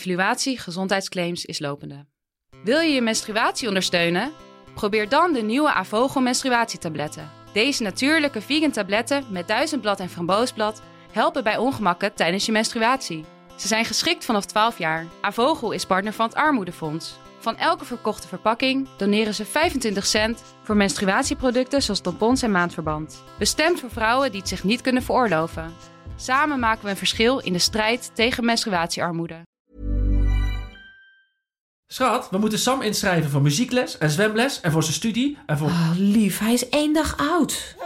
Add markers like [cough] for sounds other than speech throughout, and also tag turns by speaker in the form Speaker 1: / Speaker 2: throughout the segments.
Speaker 1: Evaluatie gezondheidsclaims is lopende. Wil je je menstruatie ondersteunen? Probeer dan de nieuwe Avogel menstruatietabletten. Deze natuurlijke vegan tabletten met duizendblad en framboosblad helpen bij ongemakken tijdens je menstruatie. Ze zijn geschikt vanaf 12 jaar. Avogel is partner van het Armoedefonds. Van elke verkochte verpakking doneren ze 25 cent voor menstruatieproducten zoals tampons en maandverband. Bestemd voor vrouwen die het zich niet kunnen veroorloven. Samen maken we een verschil in de strijd tegen menstruatiearmoede.
Speaker 2: Schat, we moeten Sam inschrijven voor muziekles en zwemles en voor zijn studie en voor...
Speaker 3: Oh, lief, hij is één dag oud.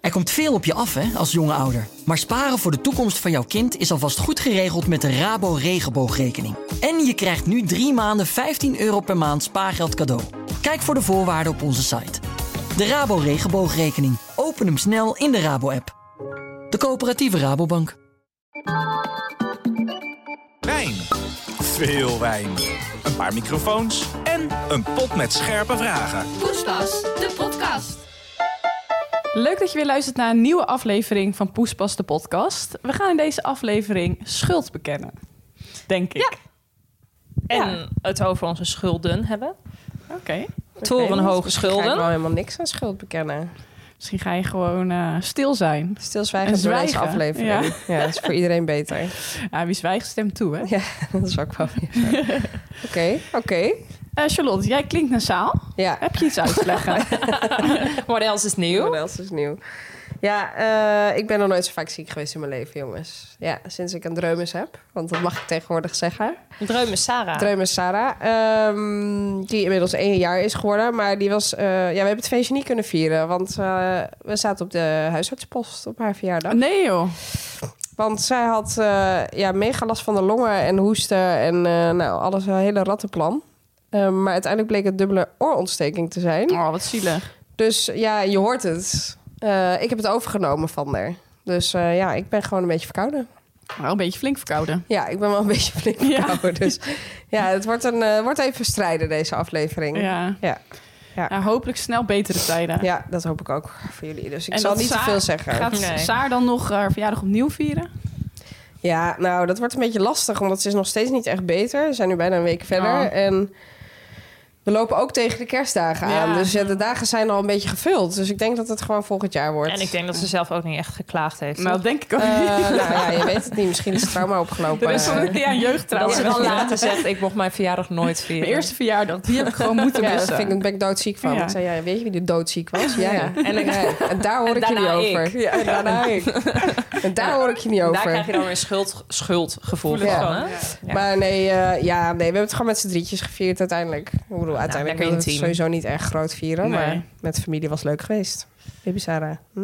Speaker 4: Er komt veel op je af hè, als jonge ouder. Maar sparen voor de toekomst van jouw kind is alvast goed geregeld met de Rabo Regenboogrekening. En je krijgt nu drie maanden 15 euro per maand spaargeld cadeau. Kijk voor de voorwaarden op onze site. De Rabo Regenboogrekening. Open hem snel in de Rabo-app. De coöperatieve Rabobank.
Speaker 5: Wijn. Veel wijn. Een paar microfoons en een pot met scherpe vragen.
Speaker 6: Poespas, de podcast.
Speaker 7: Leuk dat je weer luistert naar een nieuwe aflevering van Poespas de podcast. We gaan in deze aflevering schuld bekennen. Denk ik.
Speaker 8: En
Speaker 7: Ja.
Speaker 8: het over onze schulden hebben.
Speaker 7: Oké.
Speaker 8: Torenhoge
Speaker 9: Ik ga
Speaker 8: schulden.
Speaker 9: wel helemaal niks aan schuld bekennen.
Speaker 7: Misschien ga je gewoon eh, stil zijn.
Speaker 9: Stilzwijgen
Speaker 7: En
Speaker 9: door deze
Speaker 7: zwijgen,
Speaker 9: aflevering. Ja. dat is voor iedereen beter. [laughs]
Speaker 7: Ja, Nou, wie zwijgt stemt toe, hè?
Speaker 9: Dat is ook wel weer zo. Oké, oké.
Speaker 7: Eh, Charlotte, jij klinkt nasaal.
Speaker 9: Ja,
Speaker 7: Heb je iets uit te
Speaker 9: [laughs]
Speaker 7: leggen?
Speaker 8: What else is nieuw?
Speaker 9: wat else is nieuw? Ja, eh, ik ben nog nooit zo vaak ziek geweest in mijn leven, jongens. Ja, sinds ik een dreumes heb. Want dat mag ik tegenwoordig zeggen.
Speaker 8: Dreumen Sarah.
Speaker 9: Dreumes Sarah. ehm, die inmiddels één jaar is geworden. Maar die was... eh, ja, we hebben het feestje niet kunnen vieren. Want eh, we zaten op de huisartsenpost op haar verjaardag.
Speaker 7: nee, joh.
Speaker 9: Want zij had eh, ja, mega last van de longen en hoesten en eh, nou, alles een hele rattenplan. Eh, maar uiteindelijk bleek het dubbele oorontsteking te zijn.
Speaker 7: Oh, wat zielig.
Speaker 9: Dus ja, je hoort het. Eh, ik heb het overgenomen van haar. Dus eh, ja, ik ben gewoon een beetje verkouden.
Speaker 7: Wel een beetje flink verkouden.
Speaker 9: Ja, ik ben wel een [laughs] beetje flink
Speaker 7: Ja.
Speaker 9: verkouden. Dus ja, het wordt, een, eh, wordt even strijden deze aflevering. Ja.
Speaker 7: Ja.
Speaker 9: Ja. Ja.
Speaker 7: Nou, hopelijk snel betere tijden.
Speaker 9: dat hoop ik ook voor jullie. Dus ik
Speaker 7: En
Speaker 9: zal
Speaker 7: dat
Speaker 9: niet te
Speaker 7: Saar
Speaker 9: veel zeggen.
Speaker 7: Gaat
Speaker 8: Nee.
Speaker 7: Saar dan nog haar verjaardag opnieuw vieren?
Speaker 9: Ja, nou, dat wordt een beetje lastig, omdat ze is nog steeds niet echt beter. We zijn nu bijna een week verder.
Speaker 7: Oh.
Speaker 9: En we lopen ook tegen de kerstdagen
Speaker 7: Ja.
Speaker 9: aan. Dus ja, de dagen zijn al een beetje gevuld. Dus ik denk dat het gewoon volgend jaar wordt.
Speaker 8: En ik denk dat ze zelf ook niet echt geklaagd heeft.
Speaker 7: Nou, dat denk ik ook.
Speaker 9: Eh, [laughs] nou ja, je weet het niet. Misschien is het trauma
Speaker 7: [laughs]
Speaker 9: opgelopen.
Speaker 7: Er is
Speaker 9: Eh,
Speaker 7: wel een ja, jeugdtrauma.
Speaker 8: dat ze wel later zegt, ik mocht mijn verjaardag nooit vieren.
Speaker 7: Mijn eerste verjaardag, die heb ik gewoon moeten
Speaker 9: ja,
Speaker 7: missen.
Speaker 9: dat vind ik, ben ik doodziek van.
Speaker 7: Ja.
Speaker 9: Ik zei, ja, weet je wie die doodziek was? Ja, ja.
Speaker 8: En dan-
Speaker 9: Ja, en daar hoor
Speaker 8: En
Speaker 9: ik je niet
Speaker 8: daarna
Speaker 9: over.
Speaker 8: ik.
Speaker 9: Ja, en daarna ik. [laughs] En daar hoor ik je niet over.
Speaker 8: Daar krijg je dan weer schuld, schuldgevoel
Speaker 9: Ja.
Speaker 8: van. Hè? Ja.
Speaker 9: Maar nee, eh, ja, nee, we hebben het gewoon met z'n drietjes gevierd uiteindelijk. Ik bedoel, uiteindelijk
Speaker 8: lekker
Speaker 9: wilden we het
Speaker 8: intiem.
Speaker 9: sowieso niet echt groot vieren.
Speaker 7: Nou, Nee.
Speaker 9: Maar met familie was het leuk geweest. Baby Sarah. Hm?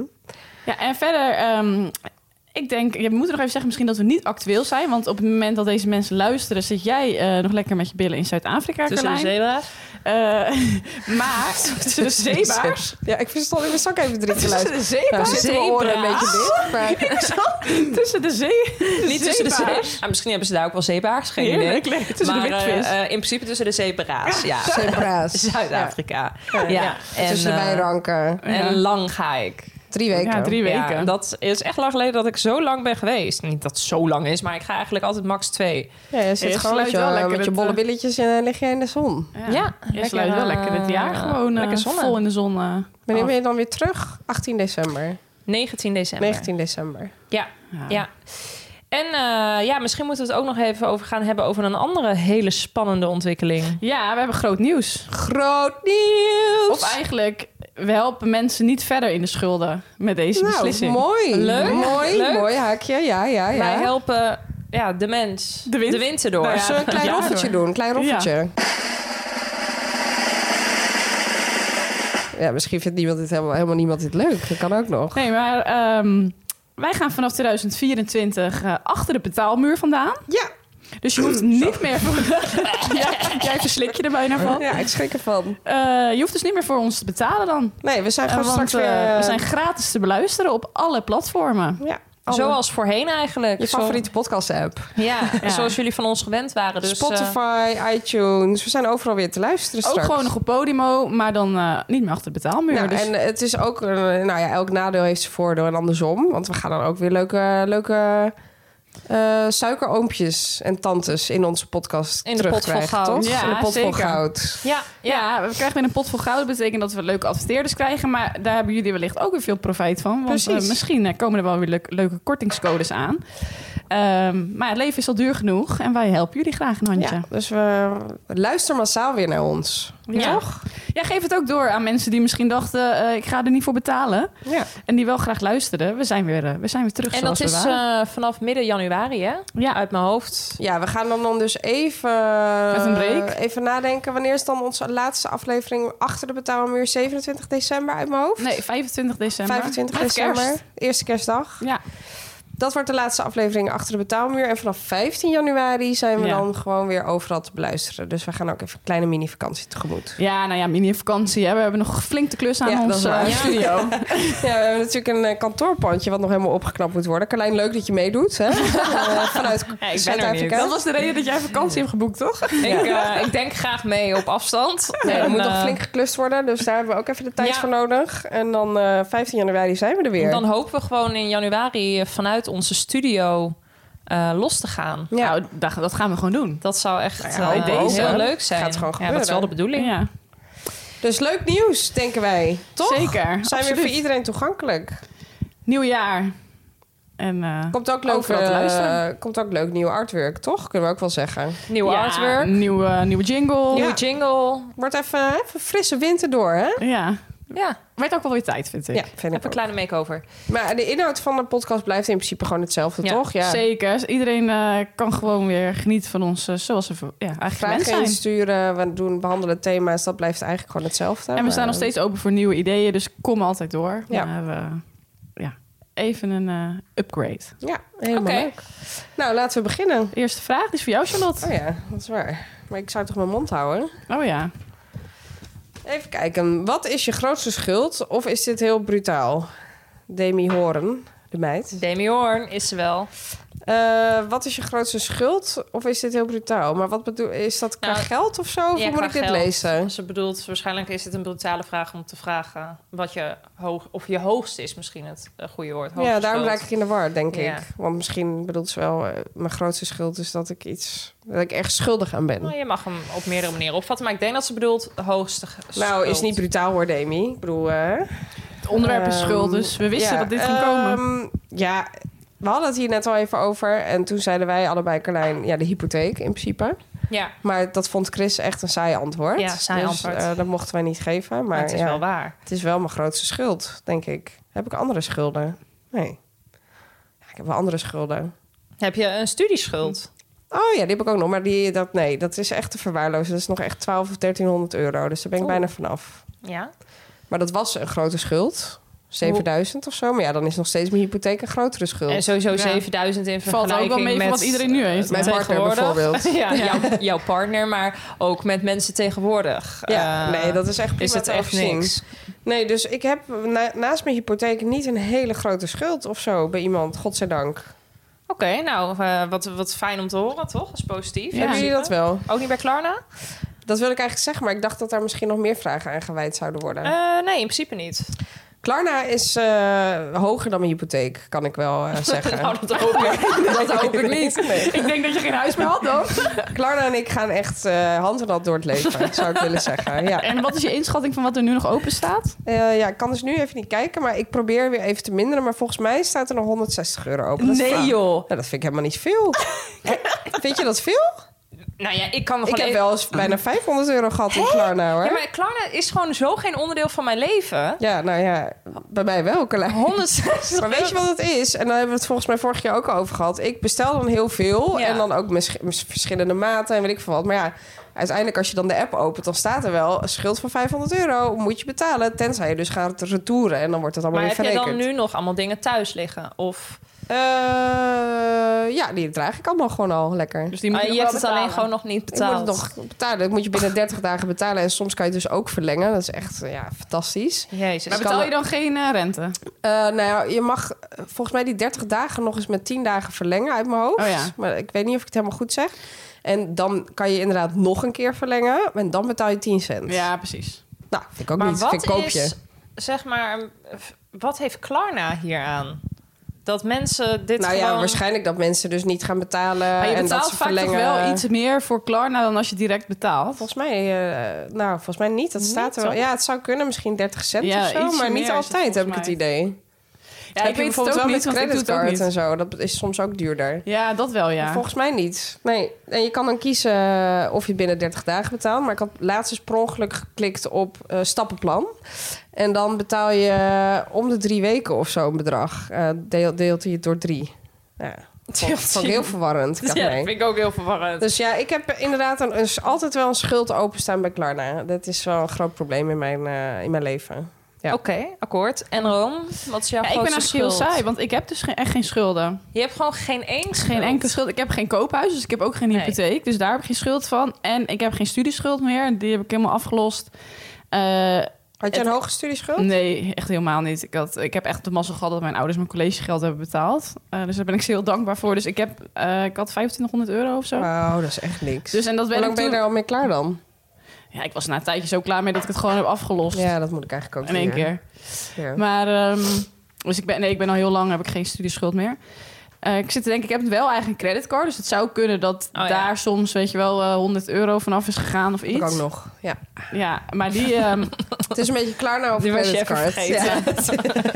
Speaker 7: Ja, en verder, ehm, ik denk, je moet nog even zeggen misschien dat we niet actueel zijn. Want op het moment dat deze mensen luisteren, zit jij eh, nog lekker met je billen in Zuid-Afrika,
Speaker 8: Tussen de
Speaker 7: Carlijn.
Speaker 8: zebra's.
Speaker 7: Eh, [laughs] maar tussen de zeebaars.
Speaker 9: Ja, ik verstond in mijn zak even drie [laughs] te
Speaker 7: Tussen
Speaker 9: luisteren.
Speaker 7: de zeebaars.
Speaker 9: Nou, zitten mijn oren een beetje dicht. Maar
Speaker 7: tussen de zee.
Speaker 8: Niet tussen de
Speaker 7: zeebaars.
Speaker 8: zebra's. Ah, misschien hebben ze daar ook wel zebraars. Geen idee.
Speaker 7: Heerlijk, lekker tussen
Speaker 8: maar
Speaker 7: de
Speaker 8: eh,
Speaker 7: witvis.
Speaker 8: eh, in principe tussen de zebra's. [laughs] Ja.
Speaker 9: [laughs]
Speaker 7: [laughs]
Speaker 9: zebra's.
Speaker 8: Zuid-Afrika. Ja.
Speaker 9: Ja.
Speaker 8: En,
Speaker 9: Tussen de
Speaker 8: eh,
Speaker 9: wijranken.
Speaker 8: en lang ga ik.
Speaker 9: Drie weken.
Speaker 7: ja, drie weken.
Speaker 8: Ja, dat is echt lang geleden dat ik zo lang ben geweest. Niet dat het zo lang is, maar ik ga eigenlijk altijd max twee.
Speaker 9: Ja, je
Speaker 7: Ja,
Speaker 9: zit
Speaker 7: je
Speaker 9: gewoon met
Speaker 7: sluit wel
Speaker 9: je,
Speaker 7: lekker
Speaker 9: met je
Speaker 7: het,
Speaker 9: bolle
Speaker 7: eh,
Speaker 9: billetjes en eh, lig je in de zon.
Speaker 7: ja,
Speaker 8: lekker,
Speaker 7: je sluit wel lekker het jaar
Speaker 8: eh,
Speaker 7: gewoon eh,
Speaker 8: lekker zonnen.
Speaker 7: vol in de zon. eh,
Speaker 9: Wanneer
Speaker 7: af.
Speaker 9: ben je dan weer terug? 18 december.
Speaker 8: 19 december.
Speaker 9: 19 december.
Speaker 8: Ja,
Speaker 7: Ja.
Speaker 8: ja. En eh, ja, misschien moeten we het ook nog even over gaan hebben over een andere hele spannende ontwikkeling.
Speaker 7: Ja, we hebben groot nieuws.
Speaker 9: Groot nieuws!
Speaker 7: Of eigenlijk, we helpen mensen niet verder in de schulden met deze beslissing.
Speaker 9: Nou, mooi.
Speaker 8: Leuk.
Speaker 9: Mooi,
Speaker 8: Leuk.
Speaker 9: mooi haakje. Ja, ja, ja.
Speaker 8: Wij helpen ja, de mens
Speaker 7: De wind-
Speaker 8: winter door.
Speaker 7: Nou ja,
Speaker 9: Zullen we een klein
Speaker 7: Ja,
Speaker 9: roffeltje
Speaker 7: hoor.
Speaker 9: doen? Een klein roffeltje. Ja. misschien vindt niemand dit helemaal, helemaal niemand dit leuk. Dat kan ook nog.
Speaker 7: Nee, maar ehm, wij gaan vanaf 2024 eh, achter de betaalmuur vandaan.
Speaker 9: Ja.
Speaker 7: Dus je hoeft niet meer voor... [laughs] ja, jij verslik je er bijna van.
Speaker 9: Ja, ik schrik ervan.
Speaker 7: Eh, je hoeft dus niet meer voor ons te betalen dan.
Speaker 9: Nee, we zijn
Speaker 7: Eh,
Speaker 9: gewoon
Speaker 7: want
Speaker 9: straks weer...
Speaker 7: eh, we
Speaker 9: eh,
Speaker 7: zijn gratis te beluisteren op alle platformen.
Speaker 9: ja, alle-
Speaker 8: Zoals voorheen eigenlijk.
Speaker 9: je
Speaker 8: Zo-
Speaker 9: favoriete podcast-app.
Speaker 8: Ja,
Speaker 7: [laughs] Ja.
Speaker 8: zoals jullie van ons gewend waren. Dus, eh,
Speaker 9: Spotify, iTunes. We zijn overal weer te luisteren
Speaker 7: Ook
Speaker 9: straks.
Speaker 7: gewoon nog op Podimo, maar dan eh, niet meer achter de betaalmuur.
Speaker 9: Nou,
Speaker 7: dus
Speaker 9: En het is ook, eh, nou ja, elk nadeel heeft zijn voordeel en andersom. Want we gaan dan ook weer leuke, leuke eh, suikeroompjes en tantes in onze podcast
Speaker 8: In de pot vol
Speaker 9: terugkrijgen,
Speaker 8: goud.
Speaker 9: toch?
Speaker 7: Ja,
Speaker 9: in de pot vol
Speaker 7: zeker.
Speaker 9: goud.
Speaker 8: Ja, ja.
Speaker 7: Ja, we krijgen weer een pot vol goud. Dat betekent dat we leuke adverteerders krijgen. Maar daar hebben jullie wellicht ook weer veel profijt van. Want
Speaker 9: Precies.
Speaker 7: eh, misschien eh, komen er wel weer leuk- leuke kortingscodes aan. Ehm, maar het leven is al duur genoeg. En wij helpen jullie graag een handje.
Speaker 9: Ja, dus we luister massaal weer naar ons.
Speaker 7: Ja.
Speaker 9: Toch?
Speaker 7: Ja, geef het ook door aan mensen die misschien dachten... eh, ik ga er niet voor betalen.
Speaker 9: Ja.
Speaker 7: En die wel graag luisteren. We zijn weer, eh, we zijn weer terug
Speaker 8: En
Speaker 7: zoals
Speaker 8: dat
Speaker 7: we
Speaker 8: is
Speaker 7: waren.
Speaker 8: eh, vanaf midden januari, hè?
Speaker 7: Ja.
Speaker 8: Uit mijn hoofd.
Speaker 9: Ja, we gaan dan, dan dus even,
Speaker 7: Even een break.
Speaker 9: even nadenken. Wanneer is dan onze laatste aflevering achter de betaalmuur? 27 december uit mijn hoofd?
Speaker 7: Nee, 25 december.
Speaker 9: 25
Speaker 7: Met kerst.
Speaker 9: eh, december. Eerste kerstdag.
Speaker 7: Ja,
Speaker 9: Dat wordt de laatste aflevering achter de betaalmuur. En vanaf 15 januari zijn we
Speaker 7: Ja.
Speaker 9: dan gewoon weer overal te beluisteren. Dus we gaan ook even een kleine mini-vakantie tegemoet.
Speaker 7: ja nou ja, mini-vakantie. hè. We hebben nog flink de klus aan
Speaker 9: Ja, dat is
Speaker 7: ons eh, [laughs]
Speaker 9: waar.
Speaker 7: studio.
Speaker 9: [laughs] Ja, we hebben natuurlijk een eh, kantoorpandje wat nog helemaal opgeknapt moet worden. Carlijn, leuk dat je meedoet. [laughs] Hè? Eh, vanuit
Speaker 8: niet.
Speaker 9: Zuid-Afrika.
Speaker 7: dat was de reden dat jij vakantie hebt geboekt, toch?
Speaker 8: Ik, eh, ik denk graag mee op afstand.
Speaker 9: Nee, er
Speaker 8: En,
Speaker 9: moet nog
Speaker 8: eh,
Speaker 9: flink geklust worden. Dus daar hebben we ook even de tijd
Speaker 8: Ja.
Speaker 9: voor nodig. En dan eh, 15 januari zijn we er weer.
Speaker 8: Dan hopen we gewoon in januari eh, vanuit onze studio eh, los te gaan.
Speaker 9: ja,
Speaker 7: Nou, dat, dat gaan we gewoon doen.
Speaker 8: Dat zou echt
Speaker 9: Nou ja,
Speaker 8: eh,
Speaker 9: bij deze.
Speaker 8: heel leuk zijn.
Speaker 9: Gaat gewoon
Speaker 8: ja, dat is wel de
Speaker 9: gebeuren.
Speaker 8: bedoeling.
Speaker 7: Ja,
Speaker 9: Dus leuk nieuws, denken wij. Toch?
Speaker 7: Zeker.
Speaker 9: Zijn we
Speaker 7: absoluut.
Speaker 9: voor iedereen toegankelijk.
Speaker 7: Nieuw jaar. En eh,
Speaker 9: Komt ook leuk,
Speaker 7: Overal te
Speaker 9: eh,
Speaker 7: luisteren.
Speaker 9: komt ook leuk nieuw artwork, toch? Kunnen we ook wel zeggen.
Speaker 8: Nieuwe
Speaker 7: ja,
Speaker 8: artwork,
Speaker 7: Nieuwe, nieuwe jingle.
Speaker 8: nieuwe
Speaker 7: Ja.
Speaker 8: jingle.
Speaker 9: Wordt even, even frisse winter door, hè?
Speaker 8: Ja,
Speaker 7: Werd ook wel weer tijd, vind ik.
Speaker 9: Ja, vind ik
Speaker 8: even een
Speaker 9: ook.
Speaker 8: kleine make-over.
Speaker 9: Maar de inhoud van de podcast blijft in principe gewoon hetzelfde,
Speaker 8: Ja,
Speaker 9: toch? Ja.
Speaker 7: Zeker. Iedereen eh, kan gewoon weer genieten van ons eh, zoals we voor- ja, eigenlijk
Speaker 9: Vragen
Speaker 7: gewend zijn.
Speaker 9: insturen, we doen behandelen thema's. Dat blijft eigenlijk gewoon hetzelfde.
Speaker 7: En we staan
Speaker 9: Maar-
Speaker 7: nog steeds open voor nieuwe ideeën, dus kom altijd door.
Speaker 9: Ja.
Speaker 7: Maar we, ja, even een eh, upgrade.
Speaker 9: Ja, helemaal
Speaker 8: Oké.
Speaker 9: leuk. Nou, laten we beginnen.
Speaker 7: De eerste vraag die is voor jou, Charlotte.
Speaker 9: Oh ja, dat is waar. Maar ik zou toch mijn mond houden?
Speaker 7: Oh ja.
Speaker 9: Even kijken. Wat is je grootste schuld? Of is dit heel brutaal? Demi Horen, de meid.
Speaker 8: Demi Hoorn is ze wel.
Speaker 9: Eh, wat is je grootste schuld? Of is dit heel brutaal? Maar wat bedoel is dat qua
Speaker 8: Nou,
Speaker 9: geld of zo? Of
Speaker 8: ja,
Speaker 9: hoe moet
Speaker 8: qua
Speaker 9: ik dit
Speaker 8: geld.
Speaker 9: lezen?
Speaker 8: Ze bedoelt, waarschijnlijk is het een brutale vraag om te vragen wat je hoog, of je hoogste is misschien het eh, goede woord.
Speaker 9: ja,
Speaker 8: Hoogste
Speaker 9: daarom
Speaker 8: schuld.
Speaker 9: raak ik in de war, denk
Speaker 8: Ja.
Speaker 9: ik. Want misschien bedoelt ze wel, eh, mijn grootste schuld is dat ik iets, dat ik erg schuldig aan ben.
Speaker 8: Nou, je mag hem op meerdere manieren opvatten, maar ik denk dat ze bedoelt hoogste ge-
Speaker 9: Nou, is
Speaker 8: schuld.
Speaker 9: niet brutaal hoor, Demi. Ik bedoel, eh,
Speaker 7: Het onderwerp is
Speaker 9: Ehm,
Speaker 7: schuld, dus we wisten
Speaker 9: ja,
Speaker 7: dat dit ging komen.
Speaker 9: ehm, ja, we hadden het hier net al even over. En toen zeiden wij allebei, Carlijn, ja, de hypotheek in principe.
Speaker 8: Ja,
Speaker 9: Maar dat vond Chris echt een saai antwoord.
Speaker 8: Ja, saai
Speaker 9: dus,
Speaker 8: antwoord.
Speaker 9: eh, dat mochten wij niet geven. Maar,
Speaker 8: maar het is
Speaker 9: ja.
Speaker 8: wel waar.
Speaker 9: Het is wel mijn grootste schuld, denk ik. Heb ik andere schulden? Nee. Ja, ik heb wel andere schulden.
Speaker 8: Heb je een studieschuld?
Speaker 9: Oh ja, die heb ik ook nog. Maar die, dat, nee, dat is echt te verwaarlozen. Dat is nog echt 12 of 1300 euro. Dus daar ben ik
Speaker 8: Oeh.
Speaker 9: bijna vanaf.
Speaker 8: Ja.
Speaker 9: Maar dat was een grote schuld. 7000 of zo. Maar ja, dan is nog steeds mijn hypotheek een grotere schuld.
Speaker 8: En sowieso 7000 in
Speaker 7: Valt ook
Speaker 8: vergelijking
Speaker 7: wel mee van
Speaker 8: met
Speaker 7: wat iedereen nu heeft.
Speaker 9: Mijn partner
Speaker 8: tegenwoordig. [laughs]
Speaker 9: bijvoorbeeld.
Speaker 8: ja, Jouw, jouw partner, maar ook met mensen tegenwoordig.
Speaker 9: Ja,
Speaker 8: Eh,
Speaker 9: nee, dat is echt prima
Speaker 8: is het
Speaker 9: te
Speaker 8: echt
Speaker 9: overzien.
Speaker 8: niks.
Speaker 9: Nee, dus ik heb na- naast mijn hypotheek niet een hele grote schuld of zo bij iemand. Godzijdank.
Speaker 8: Oké, nou, eh, wat, wat fijn om te horen, toch? Dat is positief.
Speaker 7: Ja.
Speaker 9: Hebben jullie dat wel?
Speaker 8: Ook niet bij Klarna?
Speaker 9: Dat wil ik eigenlijk zeggen, maar ik dacht dat daar misschien nog meer vragen aan gewijd zouden worden.
Speaker 8: Eh, nee, in principe niet.
Speaker 9: Klarna is eh, hoger dan mijn hypotheek, kan ik
Speaker 8: [laughs]
Speaker 9: wel eh, zeggen.
Speaker 8: Nou, dat hoop ik, dat hoop ik
Speaker 9: [laughs]
Speaker 8: niet.
Speaker 7: Ik denk dat je geen huis meer had dan.
Speaker 9: Klarna en ik gaan echt eh, hand in hand door het leven, zou ik willen zeggen. Ja.
Speaker 7: En wat is je inschatting van wat er nu nog open staat?
Speaker 9: Eh, ja, ik kan dus nu even niet kijken, maar ik probeer weer even te minderen. Maar volgens mij staat er nog 160 euro open. Dat is vaak.
Speaker 8: joh.
Speaker 9: Nou, dat vind ik helemaal niet
Speaker 8: [laughs]
Speaker 9: veel. Eh, Vind je dat veel?
Speaker 8: Nou ja, ik kan me
Speaker 9: Ik
Speaker 8: gewoon
Speaker 9: heb
Speaker 8: even-
Speaker 9: wel eens bijna 500 euro gehad in Klarna, hoor.
Speaker 8: Ja,
Speaker 9: Ja,
Speaker 8: maar Klarna is gewoon zo geen onderdeel van mijn [laughs] leven.
Speaker 9: nou ja, bij mij wel, Carlijn.
Speaker 8: 160
Speaker 9: [laughs] Maar weet je wat het is? En daar hebben we het volgens mij vorig jaar ook al over gehad. Ik bestel dan heel veel.
Speaker 8: Ja.
Speaker 9: En dan ook mis- mis- verschillende maten en weet ik veel wat. Maar ja, uiteindelijk als je dan de app opent... dan staat er wel een schuld van 500 euro. Moet je betalen. Tenzij je dus gaat retouren. En dan wordt het allemaal
Speaker 8: Maar heb
Speaker 9: weer
Speaker 8: je
Speaker 9: verrekend.
Speaker 8: dan nu nog allemaal dingen thuis liggen? Of
Speaker 9: Eh, ja, die draag ik allemaal gewoon al lekker.
Speaker 7: Dus die moet
Speaker 8: Ah,
Speaker 7: je,
Speaker 8: je
Speaker 7: nog
Speaker 8: hebt
Speaker 7: wel
Speaker 8: het alleen
Speaker 7: betalen.
Speaker 8: gewoon nog niet
Speaker 9: Ik moet het
Speaker 8: betaald?
Speaker 9: nog betalen. Dat moet je binnen 30 dagen betalen. En soms kan je het dus ook verlengen. Dat is echt eh, ja, fantastisch.
Speaker 8: Jezus.
Speaker 7: Maar betaal je dan geen eh, rente?
Speaker 9: Eh, nou ja, je mag eh, volgens mij die 30 dagen nog eens met 10 dagen verlengen uit mijn hoofd.
Speaker 7: Oh ja.
Speaker 9: Maar ik weet niet of ik het helemaal goed zeg. En dan kan je inderdaad nog een keer verlengen. En dan betaal je 10 cent.
Speaker 7: Ja, precies.
Speaker 9: Nou, vind ik ook
Speaker 8: maar
Speaker 9: niet.
Speaker 8: wat
Speaker 9: vind ik koopje.
Speaker 8: is, zeg maar, eh, wat heeft Klarna hier aan? Dat mensen dit
Speaker 9: Nou
Speaker 8: gewoon...
Speaker 9: ja, waarschijnlijk dat mensen dus niet gaan betalen.
Speaker 7: Maar je
Speaker 9: en dat
Speaker 7: betaalt
Speaker 9: ze
Speaker 7: vaak toch
Speaker 9: verlengen.
Speaker 7: wel iets meer voor Klarna dan als je direct betaalt.
Speaker 9: Volgens mij, eh, nou, volgens mij niet. Dat
Speaker 7: Niet,
Speaker 9: staat er wel.
Speaker 7: toch?
Speaker 9: Ja, het zou kunnen, misschien 30 cent
Speaker 7: Ja,
Speaker 9: of zo.
Speaker 7: iets
Speaker 9: Maar
Speaker 7: meer
Speaker 9: niet
Speaker 7: is het
Speaker 9: altijd, heb ik
Speaker 7: volgens
Speaker 9: het idee.
Speaker 7: Ja,
Speaker 9: Heb je bijvoorbeeld wel met
Speaker 7: want ik doe het ook
Speaker 9: creditcard en
Speaker 7: niet.
Speaker 9: zo. Dat is soms ook duurder.
Speaker 7: Ja, dat wel, ja.
Speaker 9: Volgens mij niet. Nee, en je kan dan kiezen eh, of je het binnen 30 dagen betaalt. Maar ik had laatst eens per ongeluk geklikt op eh, stappenplan. En dan betaal je eh, om de drie weken of zo een bedrag. Eh, deel, deelt hij het door drie. Ja, dat vond- vond ik heel verwarrend. Ik
Speaker 8: [laughs]
Speaker 9: dacht,
Speaker 8: Ja,
Speaker 9: nee.
Speaker 8: dat vind ik ook heel verwarrend.
Speaker 9: Dus ja, ik heb inderdaad een, een- altijd wel een schuld openstaan bij Klarna. Dat is wel een groot probleem in mijn, eh, in mijn leven. Ja.
Speaker 8: Oké, akkoord. En Rome, wat is jouw
Speaker 7: Ja, ik ben eigenlijk
Speaker 8: grootste schuld?
Speaker 7: heel saai, want ik heb dus geen- echt geen schulden.
Speaker 8: Je hebt gewoon geen één
Speaker 7: Geen enkele schuld. Ik heb geen koophuis, dus ik heb ook geen
Speaker 8: Nee.
Speaker 7: hypotheek. Dus daar heb ik geen schuld van. En ik heb geen studieschuld meer. Die heb ik helemaal afgelost. Eh,
Speaker 9: Had je een hoge studieschuld?
Speaker 7: nee, echt helemaal niet. Ik, had, ik heb echt de mazzel gehad dat mijn ouders mijn collegegeld hebben betaald. Eh, dus daar ben ik ze heel dankbaar voor. Dus ik, heb, eh, ik had 2500 euro of zo.
Speaker 9: Oh, dat is echt niks.
Speaker 7: Dus en dat
Speaker 9: Hoe
Speaker 7: ben ik
Speaker 9: lang ben je
Speaker 7: toen-
Speaker 9: daar al mee klaar dan?
Speaker 7: Ja, ik was na een tijdje zo klaar mee dat ik het gewoon heb afgelost.
Speaker 9: Ja, dat moet ik eigenlijk ook
Speaker 7: in één
Speaker 9: weer.
Speaker 7: keer.
Speaker 9: Ja.
Speaker 7: Maar ehm, dus ik ben, nee, ik ben al heel lang heb ik geen studieschuld meer. Eh, ik zit te denken, ik heb wel eigen creditcard. Dus het zou kunnen dat
Speaker 9: Oh,
Speaker 8: ja.
Speaker 7: daar soms, weet je wel, eh, 100 euro vanaf is gegaan of
Speaker 9: Heb
Speaker 7: iets.
Speaker 9: ik ook nog. Ja.
Speaker 7: Ja, maar die. ehm,
Speaker 9: Het is een beetje klaar nou op
Speaker 8: Die was je even
Speaker 9: creditcard.
Speaker 8: vergeten.
Speaker 9: [laughs]
Speaker 7: [laughs]
Speaker 9: Ja.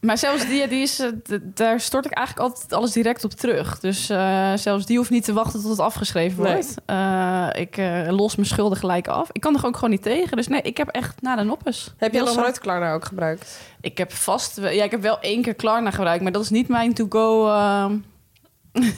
Speaker 7: maar zelfs die, die is, eh, d- daar stort ik eigenlijk altijd alles direct op terug. Dus eh, zelfs die hoeft niet te wachten tot het afgeschreven
Speaker 9: Nee.
Speaker 7: wordt. Eh, ik eh, los mijn schulden gelijk af. Ik kan er ook gewoon niet tegen. Dus nee, ik heb echt na de noppes.
Speaker 9: Heb je
Speaker 7: Heel
Speaker 9: nog
Speaker 7: zacht.
Speaker 9: nooit Klarna ook gebruikt?
Speaker 7: Ik heb vast... wel- Ja, ik heb wel één keer Klarna gebruikt, maar dat is niet mijn to-go ehm, [laughs]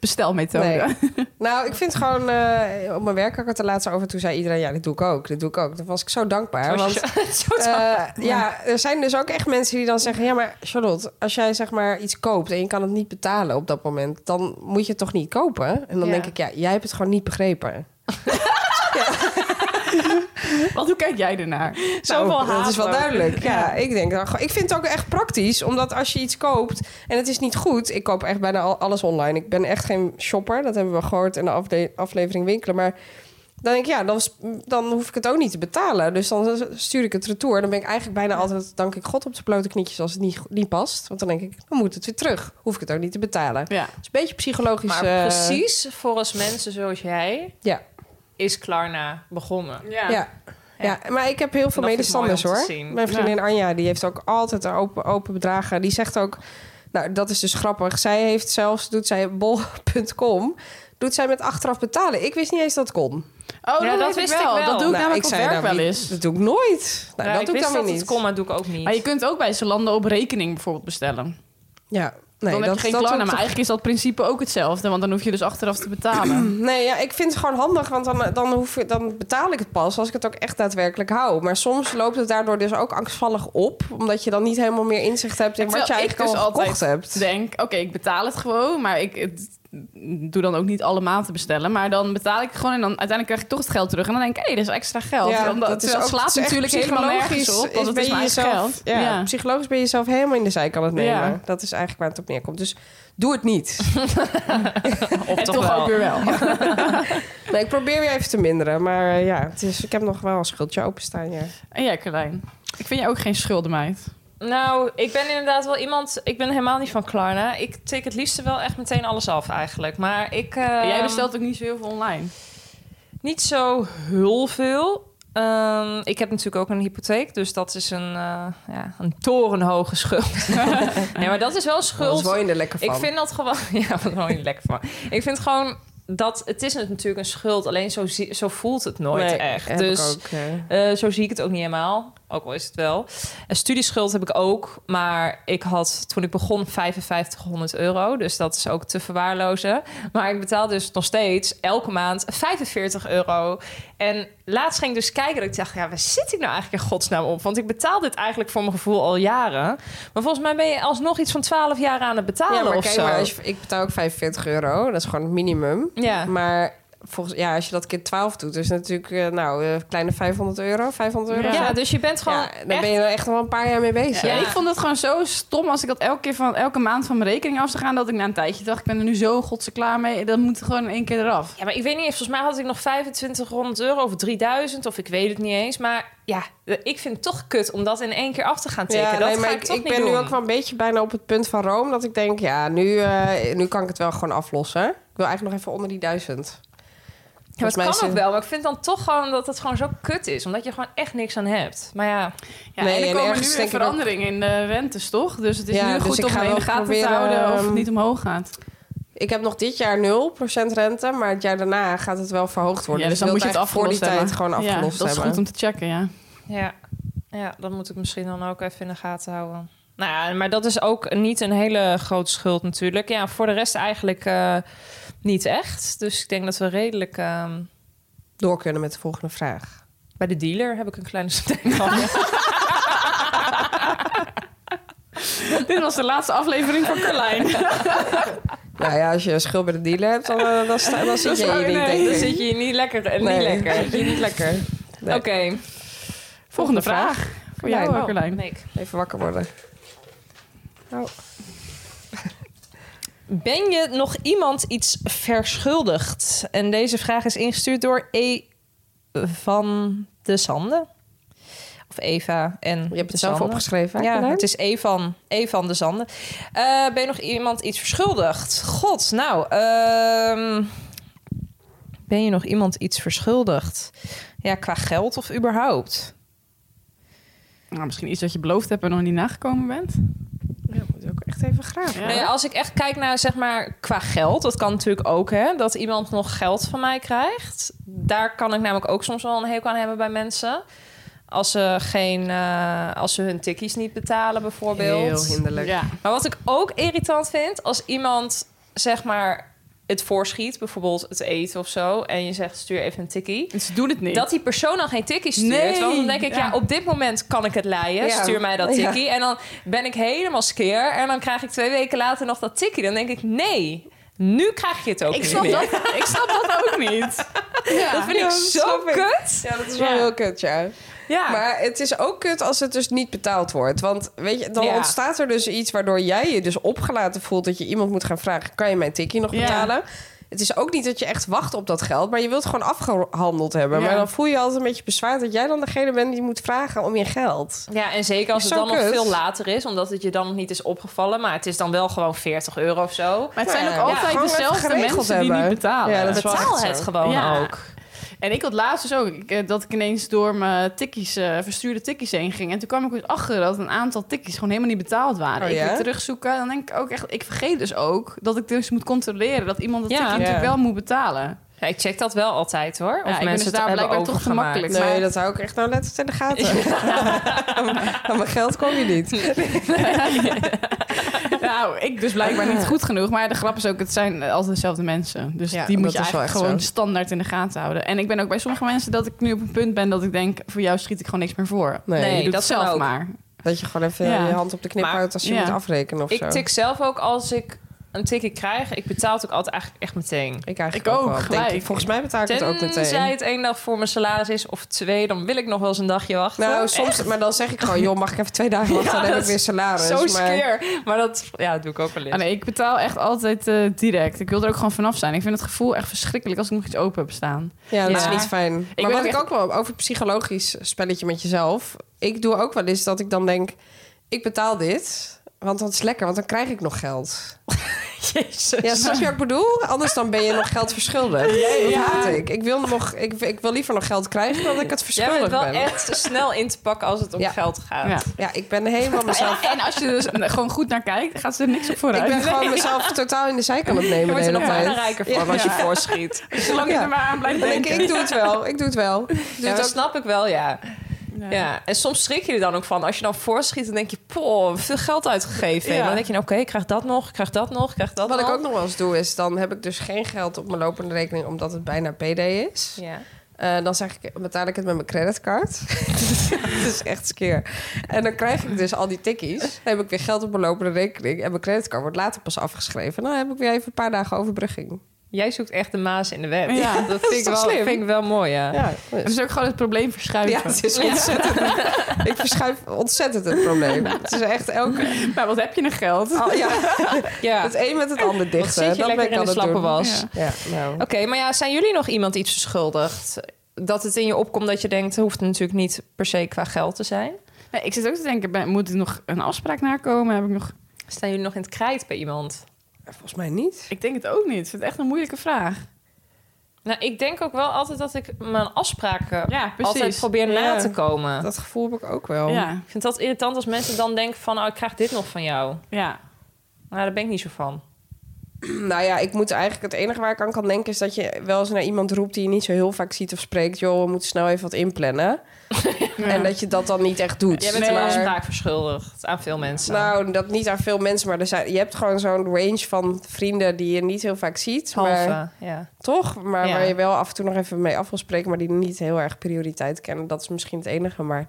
Speaker 7: bestelmethode.
Speaker 9: Nee. Nou, ik vind gewoon... eh, op mijn werk had ik het er laatst over. Toen zei iedereen, ja, dit doe ik ook. Dit doe ik ook. Dan was ik zo dankbaar. Want
Speaker 8: [laughs]
Speaker 9: Eh, ja, er zijn dus ook echt mensen die dan zeggen... ja, maar Charlotte, als jij zeg maar iets koopt... en je kan het niet betalen op dat moment... dan moet je het toch niet kopen? En dan
Speaker 7: Ja.
Speaker 9: denk ik, ja, jij hebt het gewoon niet
Speaker 7: [laughs]
Speaker 9: begrepen.
Speaker 7: Want hoe kijk jij ernaar?
Speaker 9: Zo,
Speaker 8: Zoveel haat
Speaker 9: Nou, Dat is wel
Speaker 8: ook.
Speaker 9: duidelijk. Ja, ik denk dan gewoon- Ik vind het ook echt praktisch, omdat als je iets koopt... en het is niet goed... ik koop echt bijna al- alles online. Ik ben echt geen shopper, dat hebben we gehoord... in de afde- aflevering winkelen, maar... Dan denk ik, ja, dan, is- dan hoef ik het ook niet te betalen. Dus dan stuur ik het retour. Dan ben ik eigenlijk bijna altijd, dank ik God, op de blote knietjes als het niet, niet past. Want dan denk ik, dan moet het weer terug. Hoef ik het ook niet te betalen.
Speaker 7: Ja.
Speaker 9: Het is een beetje psychologisch.
Speaker 8: Maar
Speaker 9: eh,
Speaker 8: precies volgens mensen zoals jij
Speaker 9: Ja.
Speaker 8: is Klarna begonnen.
Speaker 9: Ja. Ja. maar ik heb heel veel
Speaker 8: Dat vind ik
Speaker 9: medestanders
Speaker 8: mooi om
Speaker 9: hoor.
Speaker 8: te zien.
Speaker 9: Mijn vriendin Anja, die heeft ook altijd open, open bedragen. Die zegt ook, nou dat is dus grappig. Zij heeft zelfs, doet zij bol.com, doet zij met achteraf betalen. Ik wist niet eens dat kon.
Speaker 7: Oh,
Speaker 8: Ja,
Speaker 7: dat,
Speaker 8: dat
Speaker 7: weet
Speaker 8: wist
Speaker 7: ik wel.
Speaker 8: ik wel.
Speaker 7: Dat doe ik
Speaker 9: Nou,
Speaker 7: namelijk op
Speaker 9: zei,
Speaker 7: werk
Speaker 9: nou,
Speaker 7: wel
Speaker 9: wie-
Speaker 7: eens.
Speaker 9: Dat doe ik nooit. Nou,
Speaker 8: Ja,
Speaker 9: dat doe ik
Speaker 8: wist
Speaker 9: dan weer
Speaker 8: dat
Speaker 9: niet.
Speaker 8: het kon, maar doe ik ook niet.
Speaker 7: Maar je kunt ook bij Zalando op rekening bijvoorbeeld bestellen.
Speaker 9: Ja, nee,
Speaker 7: dan
Speaker 9: dat,
Speaker 7: heb je geen Klarna,
Speaker 9: dat
Speaker 7: maar
Speaker 9: doe ik toch-
Speaker 7: eigenlijk is dat principe ook hetzelfde. Want dan hoef je dus achteraf te
Speaker 9: [clears throat]
Speaker 7: betalen.
Speaker 9: Nee, ja, ik vind het gewoon handig, want dan, dan, hoef je, dan betaal ik het pas als ik het ook echt daadwerkelijk hou. Maar soms loopt het daardoor dus ook angstvallig op, omdat je dan niet helemaal meer inzicht hebt in
Speaker 7: En
Speaker 9: wat je
Speaker 7: terwijl ik
Speaker 9: eigenlijk
Speaker 7: dus
Speaker 9: al
Speaker 7: altijd
Speaker 9: gekocht hebt.
Speaker 7: Denk, oké, ik betaal het gewoon, maar ik het- doe dan ook niet alle maanden bestellen. Maar dan betaal ik het gewoon en dan uiteindelijk krijg ik toch het geld terug. En dan denk ik, hé, dat is extra geld. Omdat, terwijl het
Speaker 9: ook-
Speaker 7: slaat
Speaker 9: het is echt
Speaker 7: natuurlijk helemaal
Speaker 9: psychologisch.
Speaker 7: nergens op,
Speaker 9: Is-
Speaker 7: want het
Speaker 9: ben
Speaker 7: is
Speaker 9: je
Speaker 7: mijn eigen
Speaker 9: jezelf-
Speaker 7: geld.
Speaker 9: Ja, Psychologisch ben je jezelf helemaal in de zij kan het nemen.
Speaker 7: Ja.
Speaker 9: Dat is eigenlijk waar het op neerkomt. Dus doe het niet.
Speaker 7: [laughs]
Speaker 8: of
Speaker 7: En toch ook weer wel.
Speaker 9: nee, ik probeer weer even te minderen. Maar eh, ja, het is, ik heb nog wel een schuldje openstaan. Ja.
Speaker 7: [laughs] En jij, Carlijn? Ik vind je ook geen schuldenmeid.
Speaker 8: Nou, ik ben inderdaad wel iemand... Ik ben helemaal niet van Klarna. Ik tik het liefst wel echt meteen alles af eigenlijk. Maar ik... eh,
Speaker 9: Ehm.
Speaker 7: En jij bestelt ook niet zo heel veel online.
Speaker 8: Niet zo heel veel. Ehm, ik heb natuurlijk ook een hypotheek, dus dat is een, eh, ja, een torenhoge
Speaker 9: [laughs]
Speaker 8: schuld. nee, maar dat is wel schuld.
Speaker 9: Anders woon je er lekker van.
Speaker 8: Ik vind dat gewoon. [laughs] Ja, wat hou je lekker van. Ik vind gewoon dat het is natuurlijk een schuld. Alleen zo, zie- zo voelt het nooit
Speaker 9: Nee,
Speaker 8: echt.
Speaker 9: heb
Speaker 8: Dus
Speaker 9: ik ook, eh.
Speaker 8: eh, zo zie ik het ook niet helemaal. Ook al is het wel. Een studieschuld heb ik ook. Maar ik had toen ik begon 5500 euro. Dus dat is ook te verwaarlozen. Maar ik betaal dus nog steeds elke maand 45 euro. En laatst ging ik dus kijken. Dat ik dacht, ja, waar zit ik nou eigenlijk in godsnaam op? Want ik betaal dit eigenlijk voor mijn gevoel al jaren. Maar volgens mij ben je alsnog iets van 12 jaar aan het betalen
Speaker 9: ja, maar
Speaker 8: of
Speaker 9: kijk
Speaker 8: zo.
Speaker 9: maar, als je- ik betaal ook 45 euro. Dat is gewoon het minimum.
Speaker 8: Ja.
Speaker 9: Maar volgens, ja, als je dat keer 12 doet, is het natuurlijk eh, nou, eh, kleine 500 euro. 500 euro.
Speaker 8: Ja,
Speaker 9: Ja,
Speaker 8: dus je bent gewoon.
Speaker 9: daar ben je er echt nog wel een paar jaar mee bezig.
Speaker 7: Ja, ik vond het gewoon zo stom als ik dat elke keer van elke maand van mijn rekening af zou gaan. Dat ik na een tijdje dacht, ik ben er nu zo godse klaar mee. Dat moet gewoon in één keer eraf.
Speaker 8: Ja, maar ik weet niet, volgens mij had ik nog 2500 euro of 3000 of ik weet het niet eens. Maar ja, ik vind het toch kut om dat in één keer af te gaan tikken.
Speaker 9: Ja,
Speaker 8: dat
Speaker 9: nee,
Speaker 8: ga
Speaker 9: maar
Speaker 8: ik,
Speaker 9: ik,
Speaker 8: toch
Speaker 9: ik
Speaker 8: niet
Speaker 9: ben
Speaker 8: doen.
Speaker 9: nu ook wel een beetje bijna op het punt van Rome. Dat ik denk, ja, nu, eh, nu kan ik het wel gewoon aflossen. Ik wil eigenlijk nog even onder die duizend.
Speaker 8: Ja, maar
Speaker 9: Volgens mij
Speaker 8: het
Speaker 9: is
Speaker 8: kan ook
Speaker 9: het-
Speaker 8: wel, maar ik vind dan toch gewoon dat het gewoon zo kut is. Omdat je gewoon echt niks aan hebt. Maar ja,
Speaker 7: Ja,
Speaker 9: Nee,
Speaker 7: en er
Speaker 9: en
Speaker 7: komen
Speaker 9: ergens
Speaker 7: nu weer
Speaker 9: denk ik ook-
Speaker 7: veranderingen in de rentes, toch? Dus het is
Speaker 9: Ja,
Speaker 7: nu
Speaker 9: dus
Speaker 7: goed
Speaker 9: ik
Speaker 7: om
Speaker 9: ga
Speaker 7: in
Speaker 9: wel
Speaker 7: de gaten
Speaker 9: proberen,
Speaker 7: te houden of het
Speaker 9: ehm,
Speaker 7: niet omhoog gaat.
Speaker 9: Ik heb nog dit jaar 0% rente, maar het jaar daarna gaat het wel verhoogd worden.
Speaker 7: ja, dus dan
Speaker 9: ik
Speaker 7: moet je
Speaker 9: wil
Speaker 7: het
Speaker 9: eigenlijk
Speaker 7: afgelost
Speaker 9: voor die
Speaker 7: hebben.
Speaker 9: tijd gewoon
Speaker 7: Ja,
Speaker 9: afgelost
Speaker 7: dat is
Speaker 9: hebben.
Speaker 7: goed om te checken, ja.
Speaker 8: ja, ja, dat moet ik misschien dan ook even in de gaten houden. Nou ja, maar dat is ook niet een hele grote schuld natuurlijk. Ja, voor de rest eigenlijk eh, niet echt. Dus ik denk dat we redelijk... ehm,
Speaker 9: Door kunnen met de volgende vraag.
Speaker 8: bij de dealer heb ik een kleine steek van.
Speaker 9: [laughs]
Speaker 7: Dit was de laatste aflevering van Carlijn.
Speaker 9: [laughs] Nou ja, als je een schuld bij de dealer hebt, dan, eh, dan, sta- dan zit je hier niet, denk
Speaker 8: dan
Speaker 9: ik.
Speaker 8: zit je hier niet lekker. eh,
Speaker 9: Nee.
Speaker 8: Niet lekker. Zit je hier niet lekker.
Speaker 9: [laughs] Nee.
Speaker 8: Oké.
Speaker 7: Volgende vraag. Voor jou,
Speaker 9: Carlijn.
Speaker 7: eh, Carlijn.
Speaker 8: Nick.
Speaker 9: Even wakker worden.
Speaker 8: Ben je nog iemand iets verschuldigd? En deze vraag is ingestuurd door E. van de Sande. Of Eva en
Speaker 9: Je hebt
Speaker 8: de
Speaker 9: het zelf
Speaker 8: Sande.
Speaker 9: opgeschreven, hè?
Speaker 8: Ja,
Speaker 9: Carlijn?
Speaker 8: het is E van, e van de Zanden. Eh, ben je nog iemand iets verschuldigd? God, nou. ehm, ben je nog iemand iets verschuldigd? Ja, qua geld of überhaupt?
Speaker 7: Nou, misschien iets dat je beloofd hebt en nog niet nagekomen bent.
Speaker 9: Ja, moet ook echt even graven.
Speaker 7: Ja.
Speaker 8: Nou ja, als ik echt kijk naar, zeg maar, qua geld. Dat kan natuurlijk ook, hè. Dat iemand nog geld van mij krijgt. Daar kan ik namelijk ook soms wel een hekel aan hebben bij mensen. Als ze, geen, eh, als ze hun tikkies niet betalen, bijvoorbeeld.
Speaker 9: Heel hinderlijk.
Speaker 7: Ja.
Speaker 8: Maar wat ik ook irritant vind, als iemand zeg maar het voorschiet, bijvoorbeeld het eten of zo, en je zegt stuur even een tikkie.
Speaker 7: En Ze doen het niet.
Speaker 8: Dat die persoon dan geen tikkie stuurt.
Speaker 7: Nee,
Speaker 8: want dan denk ik, ja.
Speaker 7: ja.
Speaker 8: op dit moment kan ik het leiden.
Speaker 9: Ja.
Speaker 8: Stuur mij dat
Speaker 9: Ja.
Speaker 8: tikkie. En dan ben ik helemaal skeer. En dan krijg ik twee weken later nog dat tikkie. Dan denk ik, nee, nu krijg je het ook
Speaker 7: ik,
Speaker 8: niet
Speaker 7: snap
Speaker 8: meer.
Speaker 7: dat, ik snap
Speaker 8: [laughs]
Speaker 7: dat ook niet. Ja.
Speaker 8: Dat vind ik zo
Speaker 9: snap ik.
Speaker 8: kut.
Speaker 9: Ja, dat is wel heel kut, ja.
Speaker 8: Ja.
Speaker 9: Maar het is ook kut als het dus niet betaald wordt. Want weet je, dan
Speaker 8: Ja.
Speaker 9: ontstaat er dus iets waardoor jij je dus opgelaten voelt dat je iemand moet gaan vragen: kan je mijn tikkie nog
Speaker 7: Ja.
Speaker 9: betalen? Het is ook niet dat je echt wacht op dat geld, maar je wilt gewoon afgehandeld hebben.
Speaker 7: Ja.
Speaker 9: Maar dan voel je je altijd een beetje bezwaard dat jij dan degene bent die moet vragen om je geld.
Speaker 8: Ja, en zeker als
Speaker 9: Is
Speaker 8: het
Speaker 9: zo
Speaker 8: dan nog
Speaker 9: kut.
Speaker 8: veel later is, omdat het je dan nog niet is opgevallen. Maar het is dan wel gewoon 40 euro of zo.
Speaker 7: Maar het zijn
Speaker 9: Ja,
Speaker 7: ook altijd
Speaker 9: gewoon even
Speaker 7: dezelfde
Speaker 9: geregeld
Speaker 7: mensen die
Speaker 9: hebben.
Speaker 7: niet betalen.
Speaker 9: Ja, dat is wel
Speaker 8: Betaal
Speaker 9: echt
Speaker 8: het
Speaker 9: zo.
Speaker 8: gewoon
Speaker 7: Ja.
Speaker 8: ook.
Speaker 7: En ik had laatst dus ook ik, eh, dat ik ineens door mijn tikkies, eh, verstuurde tikkies heen ging. En toen kwam ik dus achter dat een aantal tikkies gewoon helemaal niet betaald waren.
Speaker 9: Oh,
Speaker 7: Ik
Speaker 9: ja?
Speaker 7: weer terugzoeken. Dan denk ik ook echt, ik vergeet dus ook dat ik dus moet controleren dat iemand dat
Speaker 8: Ja.
Speaker 7: tikkie
Speaker 8: Ja.
Speaker 7: natuurlijk wel moet betalen.
Speaker 8: Ja, ik check dat wel altijd hoor. Of
Speaker 7: Ja, ik ben
Speaker 8: mensen
Speaker 7: dus
Speaker 8: het
Speaker 7: daar
Speaker 8: hebben
Speaker 7: blijkbaar toch te
Speaker 8: overgemaakt.
Speaker 7: makkelijk.
Speaker 9: Nee,
Speaker 7: Maar- [laughs]
Speaker 9: dat hou ik echt nou letterlijk in de gaten. [laughs] Aan mijn geld kom je
Speaker 7: [laughs]
Speaker 9: niet.
Speaker 7: nou, ik dus blijkbaar niet goed genoeg. Maar de grap is ook, het zijn eh, altijd dezelfde mensen. Dus
Speaker 9: Ja,
Speaker 7: die moet
Speaker 9: dat
Speaker 7: je
Speaker 9: is wel
Speaker 7: eigenlijk
Speaker 9: echt
Speaker 7: gewoon
Speaker 9: zo.
Speaker 7: standaard in de gaten houden. En ik ben ook bij sommige mensen dat ik nu op een punt ben dat ik denk... voor jou schiet ik gewoon niks meer voor.
Speaker 9: Nee,
Speaker 7: je doet
Speaker 8: dat
Speaker 7: het
Speaker 8: kan
Speaker 7: zelf
Speaker 8: ook.
Speaker 7: maar.
Speaker 9: Dat je gewoon even
Speaker 7: Ja.
Speaker 9: je hand op de knip
Speaker 8: Maar-
Speaker 9: houdt als je
Speaker 7: ja.
Speaker 9: moet afrekenen of zo.
Speaker 8: Ik tik zelf ook als ik een ticket krijg. Ik betaal het ook altijd eigenlijk echt meteen.
Speaker 9: ik eigenlijk
Speaker 7: ik ook,
Speaker 9: wel, denk
Speaker 7: gelijk.
Speaker 9: ik. Volgens mij betaal ik het ook
Speaker 8: Tenzij
Speaker 9: meteen.
Speaker 8: het één dag voor mijn salaris is of twee, dan wil ik nog wel eens een dagje wachten. [laughs]
Speaker 9: Nou, soms, maar dan zeg ik gewoon, joh, mag ik even twee dagen wachten?
Speaker 8: Ja,
Speaker 9: dan heb
Speaker 8: dat
Speaker 9: ik weer salaris.
Speaker 8: zo
Speaker 9: maar...
Speaker 8: skeer. Maar dat, ja, dat doe ik ook wel eens.
Speaker 7: Ah, nee, ik betaal echt altijd eh, direct. Ik wil er ook gewoon vanaf zijn. Ik vind het gevoel echt verschrikkelijk als ik nog iets open heb staan.
Speaker 9: Ja, dat
Speaker 8: Ja.
Speaker 9: is niet fijn.
Speaker 7: weet
Speaker 9: maar wat
Speaker 7: ook
Speaker 9: ik
Speaker 7: echt-
Speaker 9: ook wel over psychologisch spelletje met jezelf. Ik doe ook wel eens dat ik dan denk: ik betaal dit. Want dat is lekker, want dan krijg ik nog geld.
Speaker 8: Jezus.
Speaker 9: Ja, snap je wat ik bedoel? Anders dan ben je nog geld verschuldigd. Dat haat ik. Ik wil, nog, ik, ik wil liever nog geld krijgen dan dat ik het
Speaker 8: Jij bent
Speaker 9: verschuldigd
Speaker 8: wel
Speaker 9: ben.
Speaker 8: echt snel in te pakken als het om
Speaker 9: Ja.
Speaker 8: geld gaat.
Speaker 7: Ja.
Speaker 9: Ja, ik ben helemaal mezelf...
Speaker 7: En als je dus [laughs] gewoon goed naar kijkt, gaat ze er niks op
Speaker 9: Ik
Speaker 7: vooruit. [laughs]
Speaker 9: ben gewoon mezelf totaal in de zijkant aan het
Speaker 8: Je
Speaker 9: nemen de
Speaker 8: wordt er
Speaker 9: hele
Speaker 8: nog bijna
Speaker 9: tijd.
Speaker 8: rijker van als je
Speaker 9: Ja.
Speaker 8: voorschiet.
Speaker 7: Zolang je
Speaker 9: Ja.
Speaker 7: er maar aan blijft
Speaker 9: Dan denk ik,
Speaker 7: denken.
Speaker 9: ik doe het [laughs] wel, ik doe het wel. Ik doe
Speaker 8: Ja, Dus
Speaker 9: het
Speaker 8: dat
Speaker 9: ook
Speaker 8: snap ik wel, ja. Ja, en soms schrik je er dan ook van. Als je dan voorschiet, dan denk je, poh, veel geld uitgegeven.
Speaker 9: Ja.
Speaker 8: En dan denk je, nou, oké, ik krijg dat nog, ik krijg dat nog, ik krijg dat
Speaker 9: Wat
Speaker 8: nog.
Speaker 9: ik ook nog wel eens doe, is dan heb ik dus geen geld op mijn lopende rekening... omdat het bijna PD is.
Speaker 8: Ja.
Speaker 9: Eh, dan zeg ik, betaal ik het met mijn creditcard. [laughs] Dus dat is echt skeer. En dan krijg ik dus al die tikkies. Dan heb ik weer Nou, geld op mijn lopende rekening. En mijn creditcard wordt later pas afgeschreven. En dan heb ik weer even een paar dagen overbrugging.
Speaker 8: Jij zoekt echt de maas in de wet.
Speaker 7: Ja,
Speaker 8: [laughs] dat vind, ik
Speaker 9: toch
Speaker 8: wel,
Speaker 9: slim?
Speaker 8: vind ik wel mooi, ja.
Speaker 9: Ja,
Speaker 7: Het Nou, is ook gewoon het probleem
Speaker 9: ja
Speaker 7: verschuiven.
Speaker 9: het is ontzettend. [laughs] Ik verschuif ontzettend het probleem. Het is echt elke.
Speaker 7: [laughs] Maar wat heb je nog geld?
Speaker 9: Oh, ja.
Speaker 8: Ja.
Speaker 9: Het een met het ander dicht.
Speaker 8: Wat zit je
Speaker 9: hè.
Speaker 8: lekker
Speaker 9: ben ik
Speaker 8: in
Speaker 9: aan
Speaker 8: de
Speaker 9: het
Speaker 8: slappe
Speaker 9: doen.
Speaker 8: was.
Speaker 9: Ja, nou.
Speaker 8: Oké, maar ja, zijn jullie nog iemand iets verschuldigd? Dat het in je opkomt dat je denkt, hoeft het natuurlijk niet per se qua geld te zijn.
Speaker 7: Nee, ik zit ook te denken, ben- moet er nog een afspraak nakomen? Heb ik, nog...
Speaker 8: Staan jullie nog in het krijt bij iemand?
Speaker 9: Volgens mij niet.
Speaker 7: ik denk het ook niet. Ik vind het echt een moeilijke vraag.
Speaker 8: Nou, ik denk ook wel altijd dat ik mijn afspraken
Speaker 7: Ja, precies.
Speaker 8: altijd probeer na
Speaker 9: Ja.
Speaker 8: te komen.
Speaker 9: Dat gevoel heb ik ook wel.
Speaker 7: Ja,
Speaker 8: Ik vind dat irritant als mensen dan denken van... oh, ik krijg dit nog van jou.
Speaker 7: ja.
Speaker 8: Nou, daar ben ik niet zo van.
Speaker 9: Nou ja, ik moet eigenlijk het enige waar ik aan kan denken is dat je wel eens naar iemand roept die je niet zo heel vaak ziet of spreekt. Joh, we moeten snel even wat inplannen.
Speaker 8: [laughs]
Speaker 9: En dat je dat dan niet echt doet.
Speaker 8: Jij bent
Speaker 9: Maar-
Speaker 8: een afspraak verschuldigd aan veel mensen.
Speaker 9: Nou, dat niet aan veel mensen, maar er zijn, je hebt gewoon zo'n range van vrienden die je niet heel vaak ziet.
Speaker 8: Halve,
Speaker 9: Maar,
Speaker 8: ja.
Speaker 9: toch? Maar
Speaker 8: Ja.
Speaker 9: waar je wel af en toe nog even mee af wil spreken, maar die niet heel erg prioriteit kennen. Dat is misschien het enige. Maar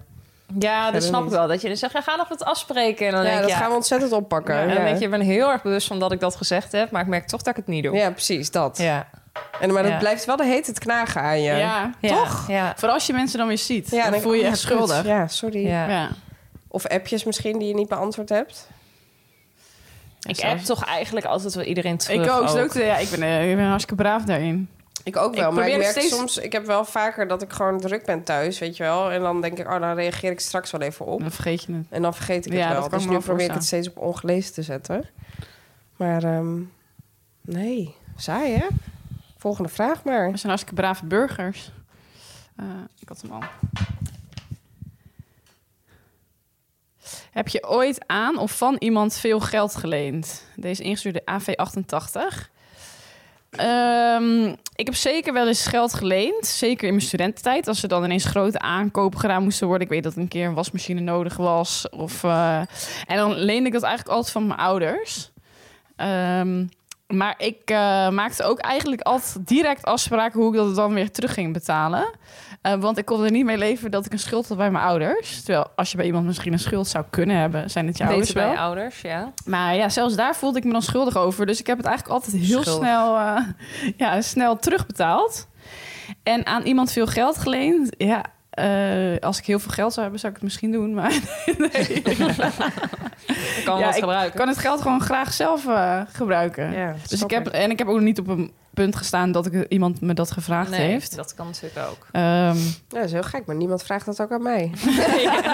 Speaker 8: Ja, dat
Speaker 9: Verder
Speaker 8: snap
Speaker 9: niet.
Speaker 8: ik wel. Dat je dan zegt, ja, ga nog wat afspreken. En dan
Speaker 9: ja,
Speaker 8: denk
Speaker 9: dat
Speaker 8: je, ja.
Speaker 9: gaan we ontzettend oppakken.
Speaker 8: Ja, en
Speaker 9: Ja,
Speaker 8: dan
Speaker 9: ja.
Speaker 8: denk je, ik ben heel erg bewust van dat ik dat gezegd heb... maar ik merk toch dat ik het niet doe.
Speaker 9: precies dat.
Speaker 8: Ja.
Speaker 9: En, maar dat
Speaker 8: Ja.
Speaker 9: blijft wel de heet het knagen aan je.
Speaker 7: ja.
Speaker 8: Toch? Ja.
Speaker 7: Vooral als je mensen dan weer ziet,
Speaker 9: Ja,
Speaker 7: dan
Speaker 9: denk
Speaker 7: voel je
Speaker 9: ik,
Speaker 7: je
Speaker 9: oh,
Speaker 7: echt
Speaker 9: kut.
Speaker 7: schuldig.
Speaker 9: Ja, sorry.
Speaker 8: Ja.
Speaker 7: Ja.
Speaker 9: Of appjes misschien die je niet beantwoord hebt.
Speaker 8: Ik heb toch eigenlijk altijd wel iedereen terug.
Speaker 7: Ik ook. Ook. Ja, ik, ben, eh, ik ben hartstikke braaf daarin.
Speaker 9: Ik ook wel,
Speaker 7: Ik
Speaker 9: maar ik
Speaker 7: probeer
Speaker 9: merk
Speaker 7: steeds-
Speaker 9: soms... Ik heb wel vaker dat ik gewoon druk ben thuis, weet je wel. En dan denk ik, oh, dan reageer ik straks wel even op.
Speaker 7: Dan vergeet je het.
Speaker 9: En dan vergeet ik het
Speaker 7: Ja, dat
Speaker 9: wel.
Speaker 7: kan
Speaker 9: Dus
Speaker 7: ik
Speaker 9: nu
Speaker 7: me
Speaker 9: probeer
Speaker 7: wel
Speaker 9: ik het steeds op ongelezen te zetten. Maar ehm, nee, saai hè? Volgende vraag maar.
Speaker 7: We zijn hartstikke brave burgers. Eh, ik had hem al. Heb je ooit aan of van iemand veel geld geleend? Deze ingestuurde AV88. Ehm, ik heb zeker wel eens geld geleend. Zeker in mijn studententijd. Als er dan ineens grote aankopen gedaan moesten worden. Ik weet dat een keer een wasmachine nodig was. Of, eh, en dan leende ik dat eigenlijk altijd van mijn ouders. Ehm, maar ik eh, maakte ook eigenlijk altijd direct afspraken hoe ik dat dan weer terug ging betalen. Eh, want ik kon er niet mee leven dat ik een schuld had bij mijn ouders. Terwijl als je bij iemand misschien een schuld zou kunnen hebben, zijn het je ouders
Speaker 8: Beter bij
Speaker 7: wel.
Speaker 8: je ouders, ja.
Speaker 7: [laughs] Maar ja, zelfs daar voelde ik me dan schuldig over. Dus ik heb het eigenlijk altijd heel
Speaker 8: Schuldig.
Speaker 7: snel, eh, ja, snel terugbetaald. En aan iemand veel geld geleend. Ja, eh, als ik heel veel geld zou hebben, zou ik het misschien doen. Maar
Speaker 8: [laughs]
Speaker 7: nee.
Speaker 8: Ik kan
Speaker 7: Ja,
Speaker 8: wat
Speaker 7: ik
Speaker 8: gebruiken.
Speaker 7: kan het geld gewoon graag zelf eh, gebruiken.
Speaker 9: Ja,
Speaker 7: dus
Speaker 9: snap
Speaker 7: ik heb, en ik heb ook niet op een punt gestaan dat ik, iemand me dat gevraagd
Speaker 8: nee,
Speaker 7: heeft.
Speaker 8: dat kan natuurlijk
Speaker 7: [laughs]
Speaker 8: ook.
Speaker 7: Ehm,
Speaker 9: Ja, dat is heel gek, maar niemand vraagt dat ook aan mij. [laughs]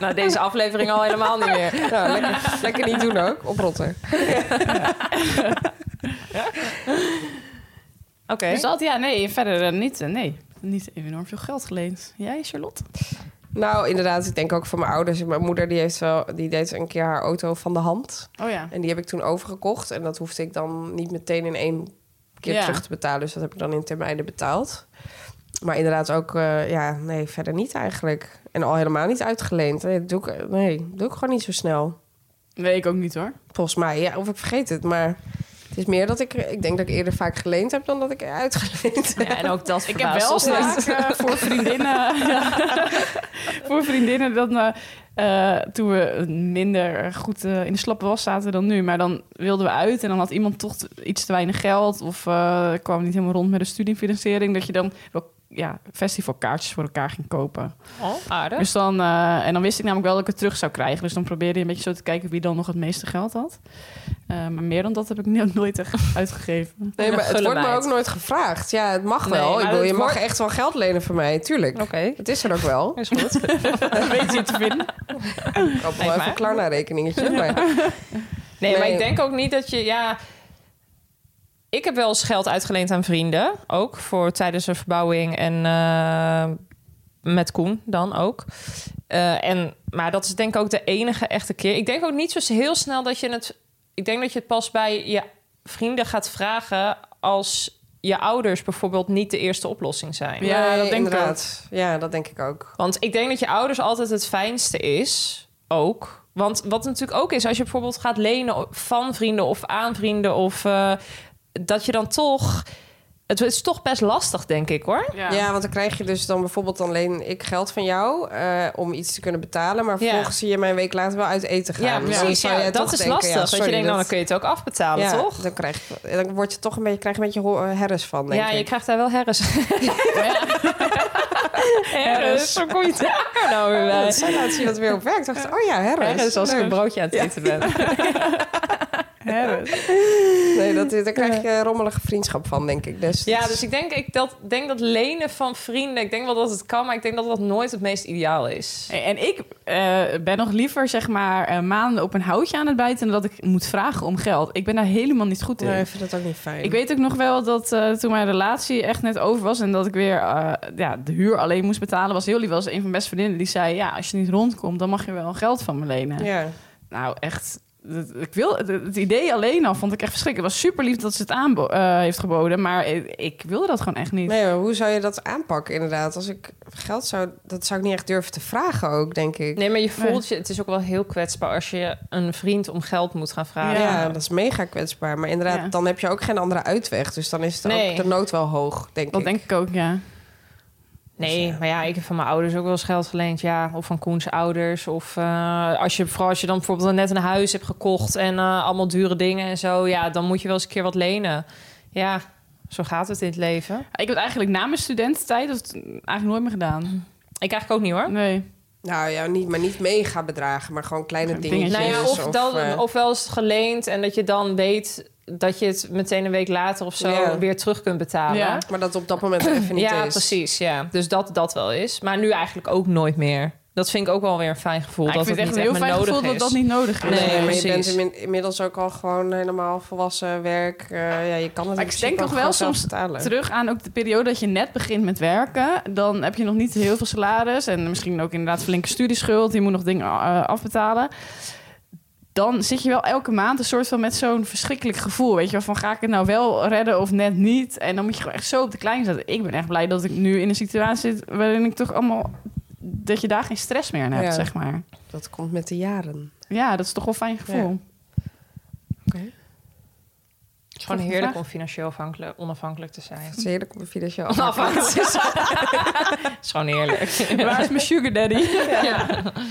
Speaker 8: Nou, deze aflevering al helemaal niet meer.
Speaker 9: Ja, lekker, lekker niet doen ook, oprotten.
Speaker 8: Oké.
Speaker 7: Dus dat, ja, nee, verder eh, niet. eh, nee, niet enorm veel geld geleend. Jij, Charlotte?
Speaker 9: Nou, inderdaad, ik denk ook van mijn ouders. Mijn moeder die heeft wel, die deed een keer haar auto van de hand.
Speaker 7: Oh ja.
Speaker 9: En die heb ik toen overgekocht. En dat hoefde ik dan niet meteen in één keer
Speaker 7: Ja.
Speaker 9: terug te betalen. Dus dat heb ik dan in termijnen betaald. Maar inderdaad ook, eh, ja, nee, verder niet eigenlijk. En al helemaal niet uitgeleend. Nee, dat doe ik, nee, dat doe ik gewoon niet zo snel.
Speaker 7: Weet ik ook niet hoor.
Speaker 9: Volgens mij, ja, of ik vergeet het. Maar het is meer dat ik, ik denk dat ik eerder vaak geleend heb dan dat ik uitgeleend heb.
Speaker 8: Ja, en ook
Speaker 7: [laughs]
Speaker 8: dat
Speaker 7: Ik heb wel
Speaker 8: ons niet.
Speaker 7: vaak [laughs] eh, voor vriendinnen... [laughs] voor vriendinnen dat eh, eh, toen we minder goed eh, in de slappe was zaten dan nu. Maar dan wilden we uit en dan had iemand toch te- iets te weinig geld... of eh, kwam niet helemaal rond met de studiefinanciering... dat je dan wel ja, festivalkaartjes voor elkaar ging kopen.
Speaker 8: Oh, aardig.
Speaker 7: Dus dan, eh, en dan wist ik namelijk wel dat ik het terug zou krijgen. Dus dan probeerde je een beetje zo te kijken wie dan nog het meeste geld had. Eh, maar meer dan dat heb ik no- nooit echt [laughs] uitgegeven.
Speaker 9: Nee, maar het
Speaker 8: gulle
Speaker 9: wordt me
Speaker 8: meid.
Speaker 9: ook nooit gevraagd. Ja, het mag
Speaker 8: Nee,
Speaker 9: wel.
Speaker 8: maar
Speaker 9: Ik bedoel,
Speaker 8: het
Speaker 9: je mag
Speaker 8: wordt-
Speaker 9: echt wel geld lenen van mij, tuurlijk.
Speaker 8: Oké,
Speaker 9: Het is er ook
Speaker 8: [laughs]
Speaker 9: wel.
Speaker 8: is goed.
Speaker 7: Weet je het te vinden?
Speaker 9: Ik koop wel
Speaker 8: Nee,
Speaker 9: even
Speaker 8: maar-
Speaker 9: een
Speaker 8: [laughs]
Speaker 9: Klarna-rekeningetje. Maar...
Speaker 8: Nee, maar
Speaker 9: Nee.
Speaker 8: ik denk ook niet dat je... Ja, ik heb wel eens geld uitgeleend aan vrienden. Ook voor tijdens een verbouwing en eh, met Koen dan ook. Eh, en, maar dat is denk ik ook de enige echte keer. Ik denk ook niet zo heel snel dat je het... Ik denk dat je het pas bij je vrienden gaat vragen... als je ouders bijvoorbeeld niet de eerste oplossing zijn.
Speaker 7: Ja, dat
Speaker 9: Nee,
Speaker 7: denk ik
Speaker 9: inderdaad. Ja, dat denk ik ook.
Speaker 8: Want ik denk dat je ouders altijd het fijnste is, ook. Want wat natuurlijk ook is, als je bijvoorbeeld gaat lenen van vrienden of aan vrienden... of eh, dat je dan toch Het is toch best lastig, denk ik hoor.
Speaker 9: Ja. want dan krijg je dus dan bijvoorbeeld dan leen ik geld van jou eh, om iets te kunnen betalen. Maar vervolgens zie je mij een week later wel uit eten gaan.
Speaker 8: Ja,
Speaker 9: Dus dan
Speaker 8: precies.
Speaker 9: zou
Speaker 8: Ja,
Speaker 9: jij
Speaker 8: dat
Speaker 9: toch
Speaker 8: is
Speaker 9: denken,
Speaker 8: lastig.
Speaker 9: ja,
Speaker 8: dat
Speaker 9: sorry,
Speaker 8: je denkt, nou, dan
Speaker 9: dat-
Speaker 8: kun je het ook afbetalen,
Speaker 9: ja,
Speaker 8: toch?
Speaker 9: Dan krijg, je- dan word je toch een beetje, krijg je een beetje ho- eh, herres van, denk
Speaker 8: Ja, je
Speaker 9: ik.
Speaker 8: krijgt daar wel
Speaker 9: [laughs]
Speaker 8: herres. herres, hoe kom je daar nou weer
Speaker 9: Ja,
Speaker 8: bij?
Speaker 9: Oh, dat zei laatst iemand weer op werk. Ik dacht, oh ja, herres.
Speaker 8: Herres als ik
Speaker 9: Leuk.
Speaker 8: een broodje aan het eten ben.
Speaker 9: Nee, dat, daar krijg je rommelige vriendschap van, denk ik. Dus,
Speaker 8: Ja, dus ik denk, ik dat, denk dat lenen van vrienden... Ik denk wel dat het kan, maar ik denk dat dat nooit het meest ideaal is.
Speaker 7: Hey, En ik eh, ben nog liever zeg maar eh, maanden op een houtje aan het bijten... dan dat ik moet vragen om geld. Ik ben daar helemaal niet goed in.
Speaker 9: Nee, ik vind dat ook niet fijn.
Speaker 7: Ik weet ook nog wel dat eh, toen mijn relatie echt net over was... en dat ik weer eh, ja, de huur alleen moest betalen... was heel lief, was een van mijn beste vriendinnen die zei... ja, als je niet rondkomt, dan mag je wel geld van me lenen.
Speaker 9: Ja.
Speaker 7: Nou, echt... dat- Ik wil, het- het idee alleen al vond ik echt verschrikkelijk. Het was super lief dat ze het aan heeft geboden, maar ik, ik wilde dat gewoon echt niet.
Speaker 9: Nee, maar hoe zou je dat aanpakken inderdaad? Als ik geld zou... Dat zou ik niet echt durven te vragen ook, denk ik.
Speaker 8: Nee, maar je voelt je... Het is ook wel heel kwetsbaar als je een vriend om geld moet gaan vragen.
Speaker 9: Ja, dat is mega kwetsbaar. Maar inderdaad,
Speaker 7: Ja.
Speaker 9: dan heb je ook geen andere uitweg. Dus dan is het
Speaker 8: Nee.
Speaker 9: ook de nood wel hoog, denk
Speaker 7: Dat
Speaker 9: ik.
Speaker 7: denk ik ook, ja.
Speaker 8: Nee, maar ja, ik heb van mijn ouders ook wel eens geld geleend. Ja, of van Koens ouders. Of eh, als je, vooral als je dan bijvoorbeeld net een huis hebt gekocht... en eh, allemaal dure dingen en zo... ja, dan moet je wel eens een keer wat lenen. Ja, zo gaat het in het leven.
Speaker 7: Ik heb het eigenlijk na mijn studententijd dat eigenlijk nooit meer gedaan.
Speaker 8: Ik eigenlijk ook niet, hoor.
Speaker 7: Nee.
Speaker 9: Nou ja, niet, maar niet mega bedragen, maar gewoon kleine
Speaker 7: Gewoon
Speaker 9: dingetjes.
Speaker 7: dingetjes.
Speaker 8: Nou ja, of, dan,
Speaker 9: eh,
Speaker 8: ofwel is het geleend en dat je dan weet dat je het meteen een week later of zo
Speaker 9: Ja.
Speaker 8: weer terug kunt betalen.
Speaker 7: Ja.
Speaker 8: Ja,
Speaker 9: Maar dat op dat moment even niet is.
Speaker 8: precies. Ja. Dus dat dat wel is. Maar nu eigenlijk ook nooit meer. Dat vind ik ook wel weer een fijn gevoel.
Speaker 7: Ja, Nou, ik
Speaker 8: dat
Speaker 7: vind het
Speaker 8: het
Speaker 7: echt een
Speaker 8: niet
Speaker 7: heel
Speaker 8: meer
Speaker 7: fijn gevoel
Speaker 8: nodig
Speaker 7: dat
Speaker 8: is.
Speaker 7: dat niet nodig is.
Speaker 9: Dus Nee,
Speaker 8: Nee,
Speaker 9: maar je
Speaker 8: precies.
Speaker 9: bent inmin- inmiddels ook al gewoon helemaal volwassen werk. Eh, ja, je kan het
Speaker 7: Maar
Speaker 9: in
Speaker 7: ik
Speaker 9: principe
Speaker 7: denk
Speaker 9: ook
Speaker 7: toch
Speaker 9: gewoon
Speaker 7: wel
Speaker 9: zelf
Speaker 7: soms
Speaker 9: betalen.
Speaker 7: terug aan ook de periode dat je net begint met werken. Dan heb je nog niet heel veel salaris. En misschien ook inderdaad flinke studieschuld. Je moet nog dingen eh, afbetalen. Dan zit je wel elke maand een soort van met zo'n verschrikkelijk gevoel. Weet je wel, van ga ik het nou wel redden of net niet? En dan moet je gewoon echt zo op de klein zetten. Ik ben echt blij dat ik nu in een situatie zit waarin ik toch allemaal... Dat je daar geen stress meer aan hebt,
Speaker 9: Ja.
Speaker 7: zeg maar.
Speaker 9: Dat komt met de jaren.
Speaker 7: Ja, dat is toch wel een fijn gevoel.
Speaker 8: Het is gewoon heerlijk om financieel afhankelijk- onafhankelijk te zijn.
Speaker 9: Het is heerlijk om financieel
Speaker 8: Onafhankelijk te [laughs] zijn. Het is gewoon heerlijk.
Speaker 7: Waar is mijn sugar
Speaker 8: [laughs]
Speaker 7: daddy? Oh,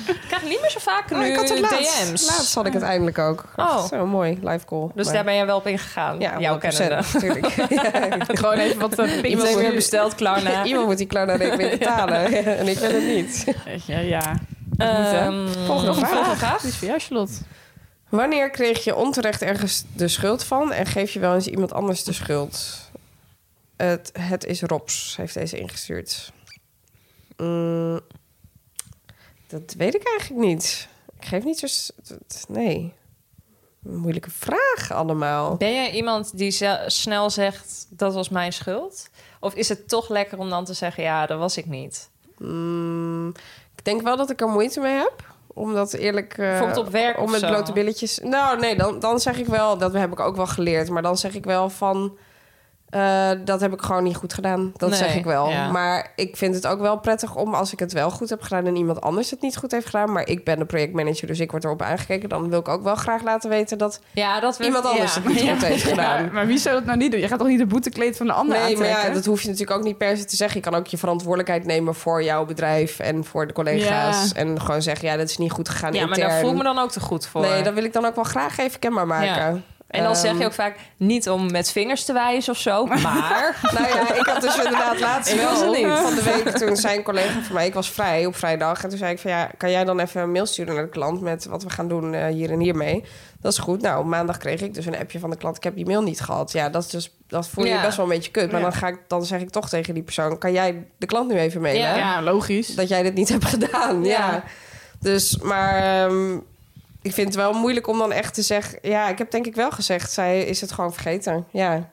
Speaker 8: Ik krijg niet meer zo vaak nu
Speaker 9: Maar Oh, ik had het laatst.
Speaker 8: DM's.
Speaker 9: Laatst had ik het eindelijk ook.
Speaker 8: Oh.
Speaker 9: Zo mooi, live call.
Speaker 8: Dus
Speaker 9: Maar-
Speaker 8: daar ben jij wel op ingegaan.
Speaker 9: ja,
Speaker 8: jouw
Speaker 9: 100%,
Speaker 8: kennende.
Speaker 9: natuurlijk. Ja.
Speaker 7: Gewoon even wat eh,
Speaker 8: Iemand
Speaker 9: moet-
Speaker 8: weer besteld,
Speaker 7: [laughs]
Speaker 8: klaar na.
Speaker 9: [laughs] Iemand moet die clown naar rekening betalen. [laughs] en ik wil het niet.
Speaker 7: Weet je, ja.
Speaker 8: Ehm,
Speaker 9: Volgende vraag.
Speaker 8: Volgende vraag.
Speaker 7: Die is voor jou, Charlotte.
Speaker 9: Wanneer kreeg je onterecht ergens de schuld van en geef je wel eens iemand anders de schuld? Het, het is Robs, heeft deze ingestuurd. Mm, dat weet ik eigenlijk niet. Ik geef niet zo. s- t- t- Nee. Moeilijke vraag allemaal.
Speaker 8: Ben jij iemand die ze- snel zegt dat was mijn schuld? Of is het toch lekker om dan te zeggen ja, dat was ik niet?
Speaker 9: Mm, ik denk wel dat ik er moeite mee heb. Omdat eerlijk. eh,
Speaker 8: Bijvoorbeeld op werk
Speaker 9: Om
Speaker 8: of
Speaker 9: met
Speaker 8: zo.
Speaker 9: blote billetjes. Nou, nee, dan, dan zeg ik wel. Dat heb ik ook wel geleerd. Maar dan zeg ik wel van. eh, dat heb ik gewoon niet goed gedaan. Dat
Speaker 8: Nee,
Speaker 9: zeg ik wel.
Speaker 8: ja.
Speaker 9: Maar ik vind het ook wel prettig om als ik het wel goed heb gedaan en iemand anders het niet goed heeft gedaan. Maar ik ben de projectmanager, dus ik word erop aangekeken. Dan wil ik ook wel graag laten weten dat
Speaker 8: Ja, dat
Speaker 9: iemand anders [laughs] het
Speaker 8: [laughs]
Speaker 9: niet goed heeft gedaan.
Speaker 7: Maar, maar wie zou dat nou niet doen? Je gaat toch niet de boetekleed van de ander
Speaker 9: Nee, maar
Speaker 7: aantrekken?
Speaker 9: ja, dat hoef je natuurlijk ook niet per se te zeggen. Je kan ook je verantwoordelijkheid nemen voor jouw bedrijf en voor de collega's.
Speaker 7: Ja.
Speaker 9: En gewoon zeggen, ja, dat is niet goed gegaan
Speaker 8: Ja, maar
Speaker 9: intern.
Speaker 8: daar voel ik me dan ook te goed voor.
Speaker 9: Nee, dat wil ik dan ook wel graag even kenbaar maken.
Speaker 8: En dan
Speaker 9: Ehm,
Speaker 8: zeg je ook vaak niet om met vingers te wijzen of zo, maar
Speaker 9: Nou ja, ik had dus inderdaad laatst
Speaker 8: Ik was
Speaker 9: wel
Speaker 8: er niet.
Speaker 9: van de week toen zei een collega van mij, ik was vrij op vrijdag. En toen zei ik van ja, kan jij dan even een mail sturen naar de klant met wat we gaan doen eh, hier en hiermee? Dat is goed. Nou, maandag kreeg ik dus een appje van de klant. Ik heb die mail niet gehad. Ja, dat, is dus, dat voel je
Speaker 8: Ja.
Speaker 9: best wel een beetje kut. Maar dan, ga ik, dan zeg ik toch tegen die persoon, kan jij de klant nu even mailen?
Speaker 8: Ja.
Speaker 7: Ja, logisch.
Speaker 9: dat jij dit niet hebt gedaan. Ja.
Speaker 8: Ja.
Speaker 9: Dus, maar ehm, ik vind het wel moeilijk om dan echt te zeggen... Ja, ik heb denk ik wel gezegd, zij is het gewoon vergeten. [laughs] Ja,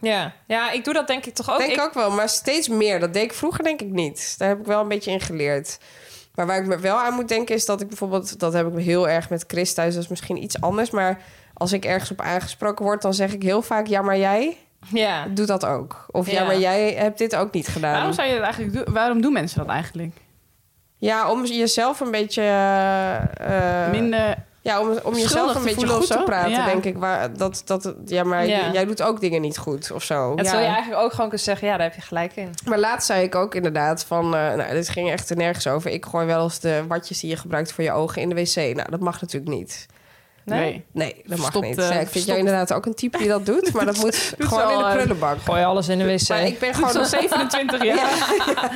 Speaker 8: ja. ja, ik doe dat denk ik toch ook.
Speaker 9: denk
Speaker 8: ik,
Speaker 9: ook wel, maar steeds meer. Dat deed ik vroeger denk ik niet. Dus Daar heb ik wel een beetje in geleerd. Maar waar ik me wel aan moet denken is dat ik bijvoorbeeld... Dat heb ik heel erg met Chris thuis, dat is misschien iets anders. Maar als ik ergens op aangesproken word, dan zeg ik heel vaak... Ja, maar jij
Speaker 8: Ja.
Speaker 9: doet dat ook. Of ja,
Speaker 8: Ja.
Speaker 9: maar jij hebt dit ook niet gedaan.
Speaker 7: Waarom zou je dat eigenlijk doen? Waarom doen mensen dat eigenlijk?
Speaker 9: Ja, om jezelf een beetje... eh, eh,
Speaker 7: Minder
Speaker 9: Ja, om, om jezelf
Speaker 7: Schuldig
Speaker 9: een
Speaker 7: te
Speaker 9: beetje
Speaker 7: voelen
Speaker 9: goed
Speaker 7: of
Speaker 9: te
Speaker 7: zo?
Speaker 9: praten,
Speaker 7: Ja.
Speaker 9: denk ik. Waar, dat, dat, ja, maar
Speaker 7: Ja.
Speaker 9: jij doet ook dingen niet goed of zo.
Speaker 8: En
Speaker 7: Ja.
Speaker 8: zou je eigenlijk ook gewoon kunnen zeggen, ja, daar heb je gelijk in.
Speaker 9: Maar laatst zei ik ook inderdaad van... eh, nou, dit ging echt nergens over. Ik gooi wel eens de watjes die je gebruikt voor je ogen in de wc. Nou, dat mag natuurlijk niet.
Speaker 8: Nee?
Speaker 9: Nee, dat mag
Speaker 7: Verstopt,
Speaker 9: niet.
Speaker 7: eh,
Speaker 9: Ja, ik vind
Speaker 7: verstopt.
Speaker 9: jou inderdaad ook een type die dat [laughs] doet. Maar dat moet gewoon
Speaker 7: wel,
Speaker 9: in de
Speaker 7: eh,
Speaker 9: prullenbak.
Speaker 8: Gooi alles in de wc.
Speaker 9: Maar [laughs] ik ben
Speaker 7: Gewoon
Speaker 8: [laughs]
Speaker 9: gewoon...
Speaker 7: zo'n 27 jaar.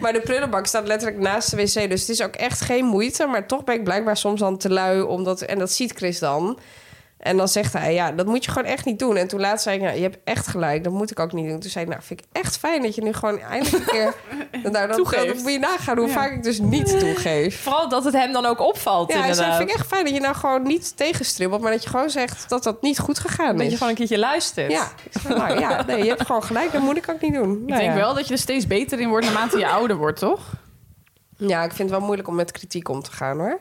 Speaker 9: Maar de prullenbak staat letterlijk naast de wc. Dus het is ook echt geen moeite. Maar toch ben ik blijkbaar soms dan te lui. Omdat, en dat ziet Chris dan. En dan zegt hij, ja, dat moet je gewoon echt niet doen. En toen laatst zei ik, nou, je hebt echt gelijk. Dat moet ik ook niet doen. Toen zei ik, nou, vind ik echt fijn dat je nu gewoon eindelijk een
Speaker 8: [laughs]
Speaker 9: keer... dat- Nou, dat,
Speaker 7: Toegeeft.
Speaker 9: dat moet je nagaan hoe vaak ik dus niet toegeef.
Speaker 8: Vooral dat het hem dan ook opvalt,
Speaker 9: Ja, hij zei,
Speaker 8: inderdaad.
Speaker 9: vind ik echt fijn dat je nou gewoon niet tegenstribbelt... maar dat je gewoon zegt dat dat niet goed gegaan
Speaker 8: Dat je
Speaker 9: is.
Speaker 8: gewoon een keertje luistert.
Speaker 9: Ja, ik zei, nou, ja nee, je hebt gewoon gelijk. Dat moet ik ook niet doen.
Speaker 7: Ik
Speaker 9: Nou
Speaker 7: denk
Speaker 9: ja.
Speaker 7: wel dat je er steeds beter in wordt naarmate je ouder wordt, toch?
Speaker 9: Ja, ik vind het wel moeilijk om met kritiek om te gaan, hoor.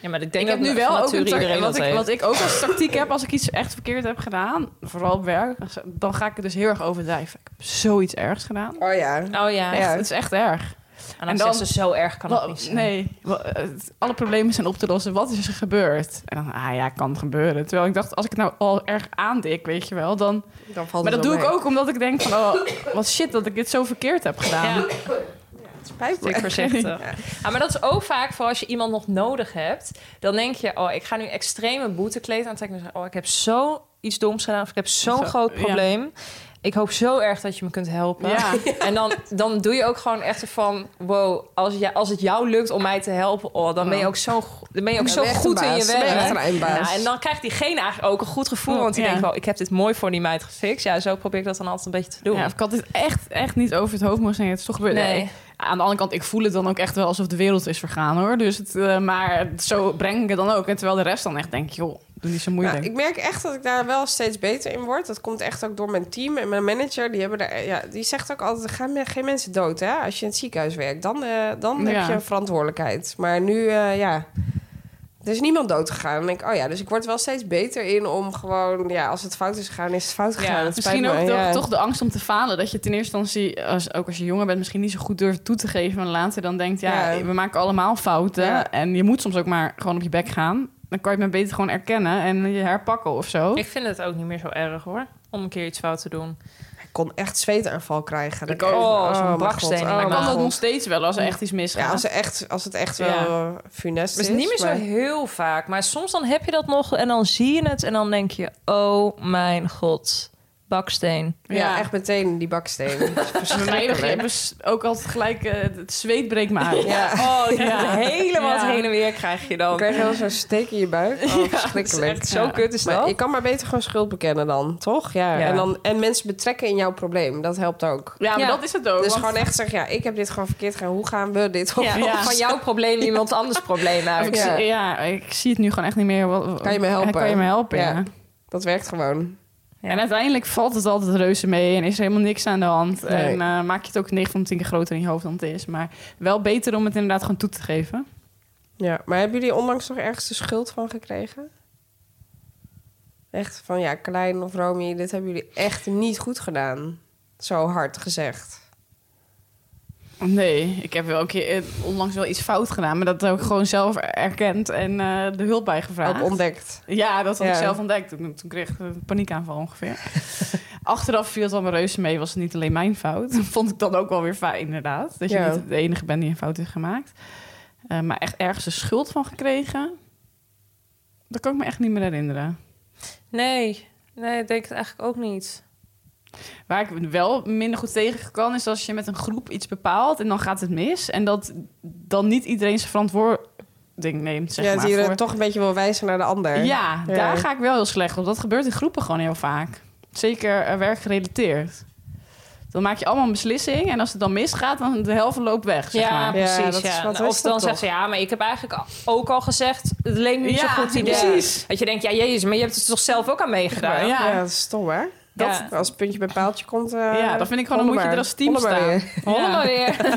Speaker 8: Ja, maar ik denk
Speaker 7: ik heb
Speaker 8: dat
Speaker 7: nu wel
Speaker 8: van
Speaker 7: ook
Speaker 8: nature
Speaker 7: een tactiek.
Speaker 8: iedereen
Speaker 7: Wat,
Speaker 8: dat
Speaker 7: ik-
Speaker 8: heeft.
Speaker 7: wat ik ook als tactiek heb, als ik iets echt verkeerd heb gedaan, vooral op werk, dan ga ik het dus heel erg overdrijven. Ik heb zoiets ergs gedaan.
Speaker 9: Oh ja.
Speaker 8: Oh ja,
Speaker 7: Echt, het is echt erg.
Speaker 8: en
Speaker 7: En
Speaker 8: dan,
Speaker 7: dan-
Speaker 8: zegt ze zo erg kan
Speaker 7: Wa-
Speaker 8: het niet zijn.
Speaker 7: nee, wa- het- alle problemen zijn op te lossen. Wat is er gebeurd? En dan, ah ja, kan gebeuren. Terwijl ik dacht, als ik het nou al erg aandik, weet je wel, dan...
Speaker 9: Dan valt
Speaker 7: maar
Speaker 9: het
Speaker 7: dat
Speaker 9: wel
Speaker 7: doe
Speaker 9: mee.
Speaker 7: ik ook omdat ik denk van, oh, wat shit dat ik dit zo verkeerd heb gedaan.
Speaker 8: Ja,
Speaker 9: Spijt me.
Speaker 8: ik [laughs] voorzichtig. Ja, Ah, maar dat is ook vaak voor als je iemand nog nodig hebt. Dan denk je, oh, ik ga nu extreme boetekleed aantrekken. En zeggen, oh, ik heb zo iets doms gedaan. Of ik heb zo'n
Speaker 7: Zo,
Speaker 8: groot
Speaker 7: ja.
Speaker 8: probleem. Ik hoop zo erg dat je me kunt helpen.
Speaker 7: Ja.
Speaker 8: [laughs] En dan, dan doe je ook gewoon echt van... wow, als, ja, als het jou lukt om mij te helpen... Oh, dan ben je ook zo, go- dan ben je ook zo
Speaker 9: ben je echt
Speaker 8: goed
Speaker 9: een
Speaker 8: in je
Speaker 9: baas. Dan ben je
Speaker 8: werk.
Speaker 9: echt een eindbaas.
Speaker 8: Ja, en dan krijgt diegene eigenlijk ook een goed gevoel. Want die
Speaker 7: Ja.
Speaker 8: denkt, oh, ik heb dit mooi voor die meid gefixt. Ja, zo probeer ik dat dan altijd een beetje te doen.
Speaker 7: Ja, of ik had dit echt, echt niet over het hoofd moest zeggen. Het is toch gebeurd.
Speaker 8: Nee.
Speaker 7: Aan de andere kant, ik voel het dan ook echt wel alsof de wereld is vergaan hoor. Dus het, eh, maar zo breng ik het dan ook. En terwijl de rest dan echt denkt, joh, doe niet zo moeilijk.
Speaker 9: Nou, ik merk echt dat ik daar wel steeds beter in word. Dat komt echt ook door mijn team en mijn manager. Die, hebben daar, ja, die zegt ook altijd, er gaan me- geen mensen dood. Hè? Als je in het ziekenhuis werkt, dan, eh, dan
Speaker 7: Ja.
Speaker 9: heb je een verantwoordelijkheid. Maar nu, eh, ja, er is niemand dood gegaan. En ik, oh ja, dus ik word wel steeds beter in om gewoon... Ja, als het fout is gegaan, is het fout gegaan. Het spijt
Speaker 7: misschien ook
Speaker 9: me,
Speaker 7: toch,
Speaker 9: ja.
Speaker 7: toch de angst om te falen. Dat je ten eerste instantie, als, ook als je jonger bent, misschien niet zo goed durft toe te geven. En later dan denkt, ja,
Speaker 9: Ja.
Speaker 7: we maken allemaal fouten.
Speaker 9: Ja.
Speaker 7: En je moet soms ook maar gewoon op je bek gaan. Dan kan je het maar beter gewoon erkennen en je herpakken of zo.
Speaker 8: Ik vind het ook niet meer zo erg hoor. Om een keer iets fout te doen.
Speaker 9: Ik kon echt zweetaanval krijgen.
Speaker 8: Ik
Speaker 9: Dat
Speaker 8: ook.
Speaker 9: echt-
Speaker 8: Oh, zo'n
Speaker 9: mijn
Speaker 8: baksteen
Speaker 9: God.
Speaker 8: in mijn
Speaker 7: kan
Speaker 8: maag.
Speaker 7: dat
Speaker 9: God.
Speaker 7: nog steeds wel als er echt iets
Speaker 9: Oh, Ja,
Speaker 7: misgaat.
Speaker 9: als, er echt, als het echt
Speaker 7: Ja.
Speaker 9: wel eh, funest
Speaker 8: Het
Speaker 9: is.
Speaker 8: is niet meer zo
Speaker 9: maar-
Speaker 8: heel vaak. Maar soms dan heb je dat nog en dan zie je het. En dan denk je, oh mijn god, baksteen.
Speaker 9: Ja,
Speaker 7: Ja.
Speaker 9: echt meteen die baksteen. Dat is
Speaker 7: Bij mij
Speaker 9: verschrikkelijk.
Speaker 7: begrepen ze ook altijd gelijk, eh, het zweet breekt me uit.
Speaker 9: Ja.
Speaker 8: [laughs] Oh, ik
Speaker 7: Ja.
Speaker 8: helemaal
Speaker 7: Ja.
Speaker 8: het heen en weer krijg je
Speaker 9: Dan
Speaker 8: dan.
Speaker 9: krijg je wel zo'n steek in je buik. Oh,
Speaker 8: Dat is
Speaker 9: verschrikkelijk.
Speaker 8: echt zo
Speaker 7: Ja.
Speaker 8: kut is
Speaker 9: Maar
Speaker 8: dat.
Speaker 9: je kan maar beter gewoon schuld bekennen dan, toch? Ja.
Speaker 8: Ja.
Speaker 9: En, dan, en mensen betrekken in jouw probleem. Dat helpt ook.
Speaker 7: Ja, maar
Speaker 8: Ja.
Speaker 7: dat is het ook.
Speaker 9: Dus
Speaker 7: want-
Speaker 9: gewoon echt zeggen, ja, ik heb dit gewoon verkeerd gedaan. Hoe gaan we dit op?
Speaker 8: Ja,
Speaker 7: Ja.
Speaker 8: Van jouw probleem iemand anders probleem
Speaker 7: ik
Speaker 9: [laughs]
Speaker 8: maken.
Speaker 9: Ja.
Speaker 7: zie- eh, ja, ik zie het nu gewoon echt niet meer. Wat-
Speaker 9: Kan je me helpen?
Speaker 7: Kan je me helpen, ja.
Speaker 9: Ja. Dat werkt gewoon.
Speaker 8: Ja.
Speaker 7: En uiteindelijk valt het altijd reuze mee en is er helemaal niks aan de hand.
Speaker 9: Nee.
Speaker 7: En eh, maak je het ook 9 van 10 keer groter in je hoofd dan het is. Maar wel beter om het inderdaad gewoon toe te geven.
Speaker 9: Ja. Maar hebben jullie onlangs nog ergens de schuld van gekregen? Echt van, ja, Klein of Romy, dit hebben jullie echt niet goed gedaan. Zo hard gezegd.
Speaker 7: Nee, ik heb wel een keer eh, onlangs wel iets fout gedaan. Maar dat heb ik gewoon zelf erkend en eh, de hulp bij gevraagd.
Speaker 9: Ook ontdekt.
Speaker 7: Ja, dat had
Speaker 9: Ja.
Speaker 7: ik zelf ontdekt. Toen, toen kreeg ik een paniekaanval ongeveer. [laughs] Achteraf viel het allemaal reuze mee. Was het niet alleen mijn fout. [laughs] Vond ik dan ook wel weer fijn, inderdaad. Dat je
Speaker 9: Ja.
Speaker 7: niet de enige bent die een fout heeft gemaakt. Eh, maar echt ergens de schuld van gekregen. Dat kan ik me echt niet meer herinneren.
Speaker 8: Nee, nee, ik denk het eigenlijk ook niet.
Speaker 7: Waar ik wel minder goed tegen kan, is als je met een groep iets bepaalt en dan gaat het mis. En dat dan niet iedereen zijn verantwoording neemt. Zeg
Speaker 9: ja,
Speaker 7: maar,
Speaker 9: die je
Speaker 7: voor-
Speaker 9: toch een beetje wil wijzen naar de ander.
Speaker 7: Ja,
Speaker 9: Ja.
Speaker 7: daar ga ik wel heel slecht op. Dat gebeurt in groepen gewoon heel vaak. Zeker eh, werkgerelateerd. Dan maak je allemaal een beslissing en als het dan misgaat, dan de helft loopt weg. Zeg
Speaker 8: ja,
Speaker 7: maar.
Speaker 9: Ja,
Speaker 8: precies.
Speaker 9: dat is
Speaker 8: ja.
Speaker 9: wat
Speaker 8: Of
Speaker 9: is
Speaker 8: dan
Speaker 9: dat
Speaker 8: zegt ze, ja, maar ik heb eigenlijk ook al gezegd... het leek me niet
Speaker 7: Ja,
Speaker 8: zo'n goed idee.
Speaker 7: precies.
Speaker 8: Dat je denkt, ja, jezus, maar je hebt het toch zelf ook aan meegedaan?
Speaker 7: Ja.
Speaker 9: Ja, dat is stom, hè? Dat,
Speaker 8: Ja.
Speaker 9: Als het puntje bij paaltje komt... eh,
Speaker 7: Ja, dan vind ik gewoon, dan moet je er als team
Speaker 9: Hollema.
Speaker 7: staan.
Speaker 9: Hollema
Speaker 8: Holle
Speaker 7: Ja.
Speaker 8: maar weer.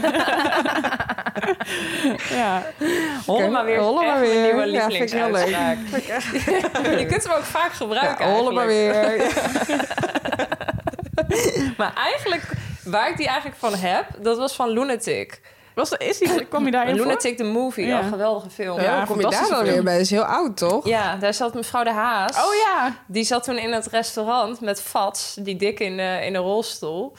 Speaker 7: Ja.
Speaker 8: Holle maar weer. Holle maar weer. Nieuwe
Speaker 9: Ja, vind ik heel leuk.
Speaker 8: lievelingsuitspraak.
Speaker 9: [laughs]
Speaker 8: [laughs] Je kunt hem ook vaak gebruiken.
Speaker 9: Ja, Hollema
Speaker 8: eigenlijk.
Speaker 9: weer.
Speaker 8: Maar eigenlijk, waar ik die eigenlijk van heb, dat was van Lunatic.
Speaker 7: Was, is die, kwam je daarin voor?
Speaker 8: Lunatic the Movie,
Speaker 7: Ja.
Speaker 8: ja. geweldige film.
Speaker 7: Ja.
Speaker 8: Ja.
Speaker 9: Hoe kom je daar
Speaker 7: fantastische
Speaker 9: dan
Speaker 7: film.
Speaker 9: weer bij? Dat is heel oud, toch?
Speaker 8: daar zat mevrouw De Haas.
Speaker 7: Oh ja.
Speaker 8: Die zat toen in het restaurant met Fats, die dik in, de in een rolstoel.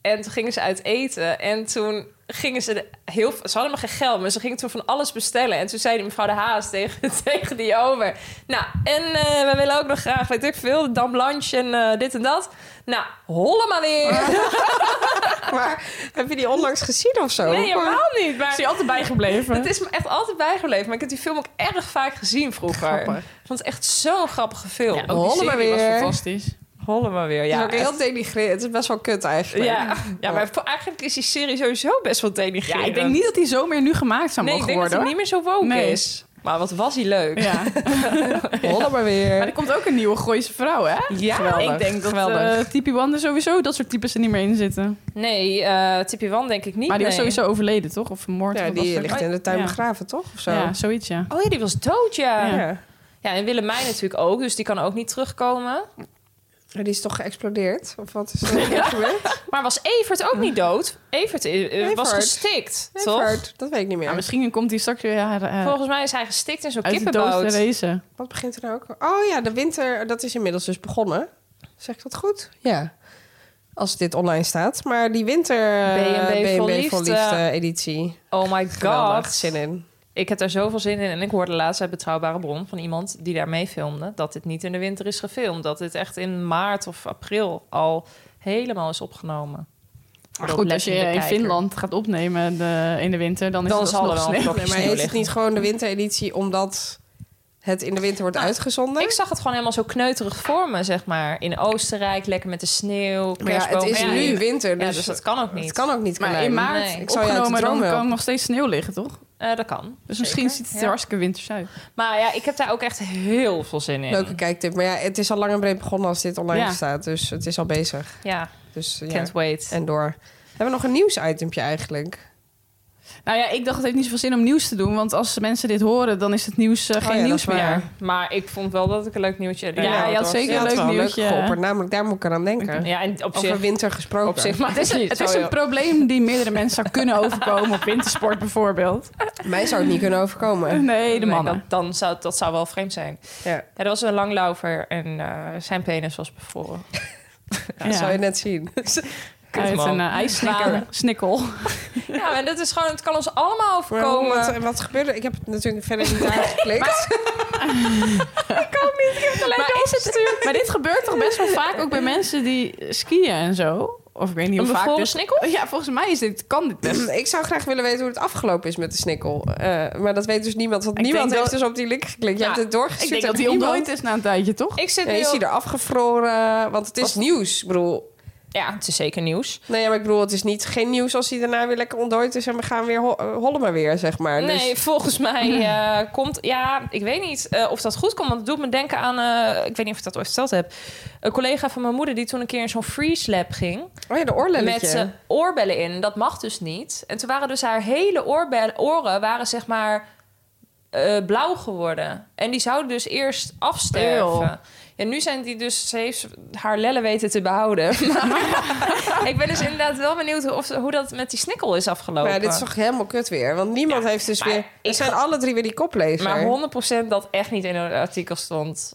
Speaker 8: En toen gingen ze uit eten. En toen gingen ze de- heel Ze hadden maar geen geld, maar ze gingen toen van alles bestellen. En toen zei die mevrouw De Haas [laughs] tegen, tegen die over. Nou, en eh, we willen ook nog graag, weet ik veel, Dam Blanche en eh, dit en dat. Nou, hollen maar
Speaker 7: [laughs]
Speaker 8: weer.
Speaker 9: Maar heb je die onlangs gezien of zo?
Speaker 8: Nee, helemaal niet.
Speaker 7: Is
Speaker 8: Maar
Speaker 7: die altijd bijgebleven?
Speaker 8: Het is me echt altijd bijgebleven. Maar ik heb die film ook erg vaak gezien vroeger.
Speaker 7: Grappig.
Speaker 8: Ik vond het echt zo'n grappige film.
Speaker 7: Ja, ook die
Speaker 9: Hollen
Speaker 7: serie
Speaker 9: maar weer.
Speaker 7: was fantastisch.
Speaker 8: Hollen maar weer.
Speaker 9: Het
Speaker 8: Ja,
Speaker 9: is ook heel denigrerend. Het is best wel kut eigenlijk.
Speaker 7: Ja.
Speaker 8: ja, maar voor- eigenlijk is die serie sowieso best wel denigrerend.
Speaker 7: ja, ik denk niet dat die zo meer nu gemaakt zou
Speaker 8: nee, ik
Speaker 7: mogen
Speaker 8: denk dat
Speaker 7: worden.
Speaker 8: hij niet
Speaker 7: hoor.
Speaker 8: meer zo woke
Speaker 7: Nee.
Speaker 8: is. Maar wat was hij leuk.
Speaker 7: Ja.
Speaker 9: Hollen maar weer.
Speaker 7: Maar er komt ook een nieuwe Gooise vrouw, hè?
Speaker 8: Ja,
Speaker 7: ik denk dat
Speaker 8: geweldig.
Speaker 7: eh Tipi Wan er sowieso dat soort types er niet meer in zitten.
Speaker 8: nee, eh Tippy Wan denk ik niet.
Speaker 7: maar die was
Speaker 8: nee.
Speaker 7: sowieso overleden, toch? Of vermoord?
Speaker 9: Ja,
Speaker 7: of wat
Speaker 9: die
Speaker 7: voor-
Speaker 9: ligt in de tuin
Speaker 7: Ja.
Speaker 9: begraven, toch? Of zo?
Speaker 7: Ja, zoiets, ja.
Speaker 8: Oh ja, die was dood,
Speaker 9: Ah,
Speaker 8: ja.
Speaker 7: Ja.
Speaker 8: Ja, en Willemijn natuurlijk ook. Dus die kan ook niet terugkomen.
Speaker 9: Maar Die is toch geëxplodeerd? Of wat is
Speaker 7: [laughs]
Speaker 9: er gebeurd?
Speaker 8: Maar was Evert ook niet dood? Evert, eh, eh, was
Speaker 9: Evert.
Speaker 8: gestikt, toch?
Speaker 9: Evert, Dat weet ik niet meer.
Speaker 7: Ja, misschien komt die straks weer ja, eh,
Speaker 8: Volgens mij is hij gestikt in zo'n
Speaker 7: uit de dood
Speaker 8: kippenbout.
Speaker 7: te racen.
Speaker 9: Wat begint er nou ook? Oh ja, de winter, dat is inmiddels dus begonnen. Zeg ik dat goed? Ja. Als dit online staat. Maar die winter eh,
Speaker 8: B&B vol
Speaker 9: B&B vol
Speaker 8: liefde.
Speaker 9: liefde editie.
Speaker 8: Oh [laughs] my
Speaker 9: Geweldig.
Speaker 8: god.
Speaker 9: Zin in.
Speaker 8: Ik heb daar zoveel zin in. En ik hoorde laatst uit Betrouwbare Bron van iemand die daar mee filmde... dat dit niet in de winter is gefilmd. Dat dit echt in maart of april al helemaal is opgenomen.
Speaker 7: Maar goed, als je in Finland gaat opnemen de, in de winter, dan is
Speaker 8: Dan
Speaker 7: het
Speaker 8: zal er
Speaker 7: alsnog
Speaker 8: wel een
Speaker 7: sneeuw.
Speaker 8: klokje
Speaker 9: Nee, maar
Speaker 8: sneeuw
Speaker 9: heet het
Speaker 8: liggen.
Speaker 9: niet gewoon de wintereditie omdat het in de winter wordt uitgezonden?
Speaker 8: Ik zag het gewoon helemaal zo kneuterig voor me, zeg maar. In Oostenrijk, lekker met de sneeuw,
Speaker 9: maar ja, het
Speaker 8: kerstboom.
Speaker 9: is
Speaker 8: Ja,
Speaker 9: nu
Speaker 8: ja,
Speaker 9: winter, dus,
Speaker 8: ja, dus dat kan ook niet.
Speaker 9: het kan ook niet.
Speaker 7: Maar in
Speaker 9: Carlijn.
Speaker 7: maart
Speaker 8: Nee.
Speaker 9: Ik zou je uit de
Speaker 7: opgenomen, dan
Speaker 9: droom
Speaker 7: kan
Speaker 9: helpen.
Speaker 7: nog steeds sneeuw liggen, toch?
Speaker 8: Eh, dat kan.
Speaker 7: Dus
Speaker 8: Zeker,
Speaker 7: misschien ziet het er
Speaker 8: ja.
Speaker 7: hartstikke winters uit.
Speaker 8: Maar ja, ik heb daar ook echt heel veel zin in.
Speaker 9: Leuke kijktip. Maar ja, het is al lang en breed begonnen als dit online
Speaker 7: Ja.
Speaker 9: staat. Dus het is al bezig.
Speaker 8: Ja,
Speaker 9: Dus eh, ja.
Speaker 8: can't wait.
Speaker 9: En door. Hebben we nog een nieuwsitempje eigenlijk?
Speaker 7: Nou ja, ik dacht het heeft niet zoveel zin om nieuws te doen, want als mensen dit horen, dan is het nieuws eh,
Speaker 9: Oh
Speaker 7: geen
Speaker 9: ja, dat
Speaker 7: nieuws
Speaker 9: is
Speaker 7: meer.
Speaker 9: waar. [laughs]
Speaker 8: Ja, maar ik vond wel dat ik een leuk nieuwtje
Speaker 7: Ja,
Speaker 8: Ja,
Speaker 7: je had zeker
Speaker 9: Ja,
Speaker 7: een
Speaker 9: dat is
Speaker 7: leuk
Speaker 9: wel
Speaker 7: nieuwtje.
Speaker 9: geopperd. Namelijk, daar moet ik aan denken.
Speaker 8: Ja, en op
Speaker 9: Over
Speaker 8: zich,
Speaker 9: winter gesproken.
Speaker 8: op zich maakt
Speaker 7: Het is, een, het
Speaker 9: Oh
Speaker 7: is een probleem die meerdere mensen zou
Speaker 9: [laughs]
Speaker 7: kunnen overkomen op wintersport bijvoorbeeld.
Speaker 9: Mij zou het niet kunnen [laughs] overkomen.
Speaker 7: Nee, de
Speaker 8: Nee,
Speaker 7: mannen.
Speaker 8: dat, dan zou, dat zou wel vreemd zijn.
Speaker 9: Ja.
Speaker 8: Ja, er was een langloper en eh, zijn penis was bevroren.
Speaker 9: Dat zou je net [laughs] zien.
Speaker 7: Uit
Speaker 8: man.
Speaker 7: een eh, ijssnikker.
Speaker 8: Zwanen.
Speaker 7: Snikkel.
Speaker 8: ja, en dat is gewoon, het kan ons allemaal
Speaker 9: Maar hoe-
Speaker 8: overkomen.
Speaker 9: Wat, wat gebeurde? Ik heb het natuurlijk verder [laughs] niet aangeklikt.
Speaker 7: Maar, is het, maar dit gebeurt toch best wel vaak ook bij mensen die eh, skiën en zo? Of ik weet niet
Speaker 8: Een
Speaker 7: hoe vaak. dus-
Speaker 8: bevroren
Speaker 7: dit-
Speaker 8: snikkel?
Speaker 7: Ja, volgens mij is dit, kan dit best.
Speaker 9: [laughs] ik zou graag willen weten hoe het afgelopen is met de snikkel. Eh, maar dat weet dus niemand. Want
Speaker 7: Ik
Speaker 9: niemand
Speaker 7: denk
Speaker 9: heeft
Speaker 7: dat-
Speaker 9: dus op die link geklikt.
Speaker 7: Ja,
Speaker 9: Je hebt het
Speaker 7: Ik
Speaker 9: doorgestuurd.
Speaker 7: denk dat
Speaker 9: aan
Speaker 7: die ontdooid
Speaker 9: niemand.
Speaker 7: is na een tijdje, toch?
Speaker 8: Ik zit
Speaker 9: Ja,
Speaker 8: nu
Speaker 9: is
Speaker 8: op-
Speaker 9: hij er afgevroren? Want het is nieuws. Ik bedoel,
Speaker 8: Ja, het is zeker nieuws.
Speaker 9: nee, maar ik bedoel, het is niet, geen nieuws als hij daarna weer lekker ontdooid is en we gaan weer ho- eh, hollen maar weer, zeg maar. Dus-
Speaker 8: Nee, volgens mij eh, komt... Ja, ik weet niet eh, of dat goed komt. Want het doet me denken aan... eh, ik weet niet of ik dat ooit verteld heb. Een collega van mijn moeder die toen een keer in zo'n freeze lab ging.
Speaker 9: oh ja, de oorlelletje.
Speaker 8: Met eh, oorbellen in. Dat mag dus niet. En toen waren dus haar hele oorbel, oren waren zeg maar eh, blauw geworden. En die zouden dus eerst afsterven.
Speaker 7: Eeuw.
Speaker 8: Ja, nu zijn die dus... Ze heeft haar lellen weten te behouden. [laughs] Maar ik ben dus inderdaad wel benieuwd hoe, of, hoe dat met die snikkel is afgelopen.
Speaker 9: Maar ja, dit is toch helemaal kut weer? Want niemand heeft dus
Speaker 8: maar
Speaker 9: weer...
Speaker 8: ik
Speaker 9: Het zijn
Speaker 8: ga-
Speaker 9: alle drie weer die koplezer.
Speaker 8: Maar 100% dat echt niet in een artikel stond.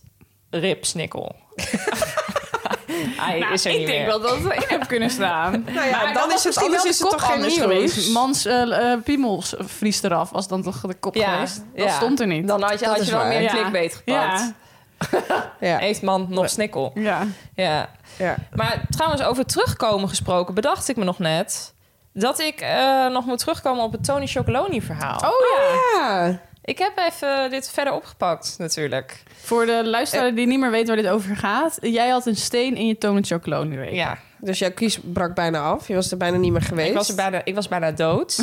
Speaker 8: Rip snikkel. Hij is er
Speaker 7: ik
Speaker 8: niet
Speaker 7: denk
Speaker 8: meer.
Speaker 7: wel dat het erin heb kunnen staan.
Speaker 9: nou ja,
Speaker 7: Maar
Speaker 9: dan,
Speaker 7: was
Speaker 9: is het,
Speaker 7: misschien
Speaker 9: anders
Speaker 7: wel
Speaker 9: is
Speaker 7: de
Speaker 9: het
Speaker 7: kop
Speaker 9: toch geen
Speaker 7: anders
Speaker 9: nieuws.
Speaker 7: geweest. Mans eh, eh, piemels vries eraf was dan toch de kop
Speaker 8: Ja,
Speaker 7: geweest. Dat
Speaker 8: ja.
Speaker 7: stond er niet.
Speaker 8: Dan had je,
Speaker 9: Dat
Speaker 8: had
Speaker 9: is
Speaker 8: je wel
Speaker 9: waar.
Speaker 8: meer
Speaker 7: Ja.
Speaker 8: clickbait gepakt.
Speaker 7: Ja.
Speaker 9: Ja,
Speaker 8: Heeft man nog snikkel?
Speaker 7: ja.
Speaker 8: Ja.
Speaker 9: ja.
Speaker 8: Maar trouwens, over terugkomen gesproken, bedacht ik me nog net... dat ik eh, nog moet terugkomen op het Tony Chocoloni verhaal.
Speaker 7: Oh ja.
Speaker 9: Ja.
Speaker 8: Ik heb even dit verder opgepakt, natuurlijk.
Speaker 7: Voor de luisteraar die niet meer weet waar dit over gaat. Jij had een steen in je Tony Chocolone week.
Speaker 8: Ja,
Speaker 9: Dus jouw kies brak bijna af. Je was er bijna niet meer geweest.
Speaker 8: Ik was, er bijna, ik was bijna
Speaker 9: [laughs]
Speaker 8: dood.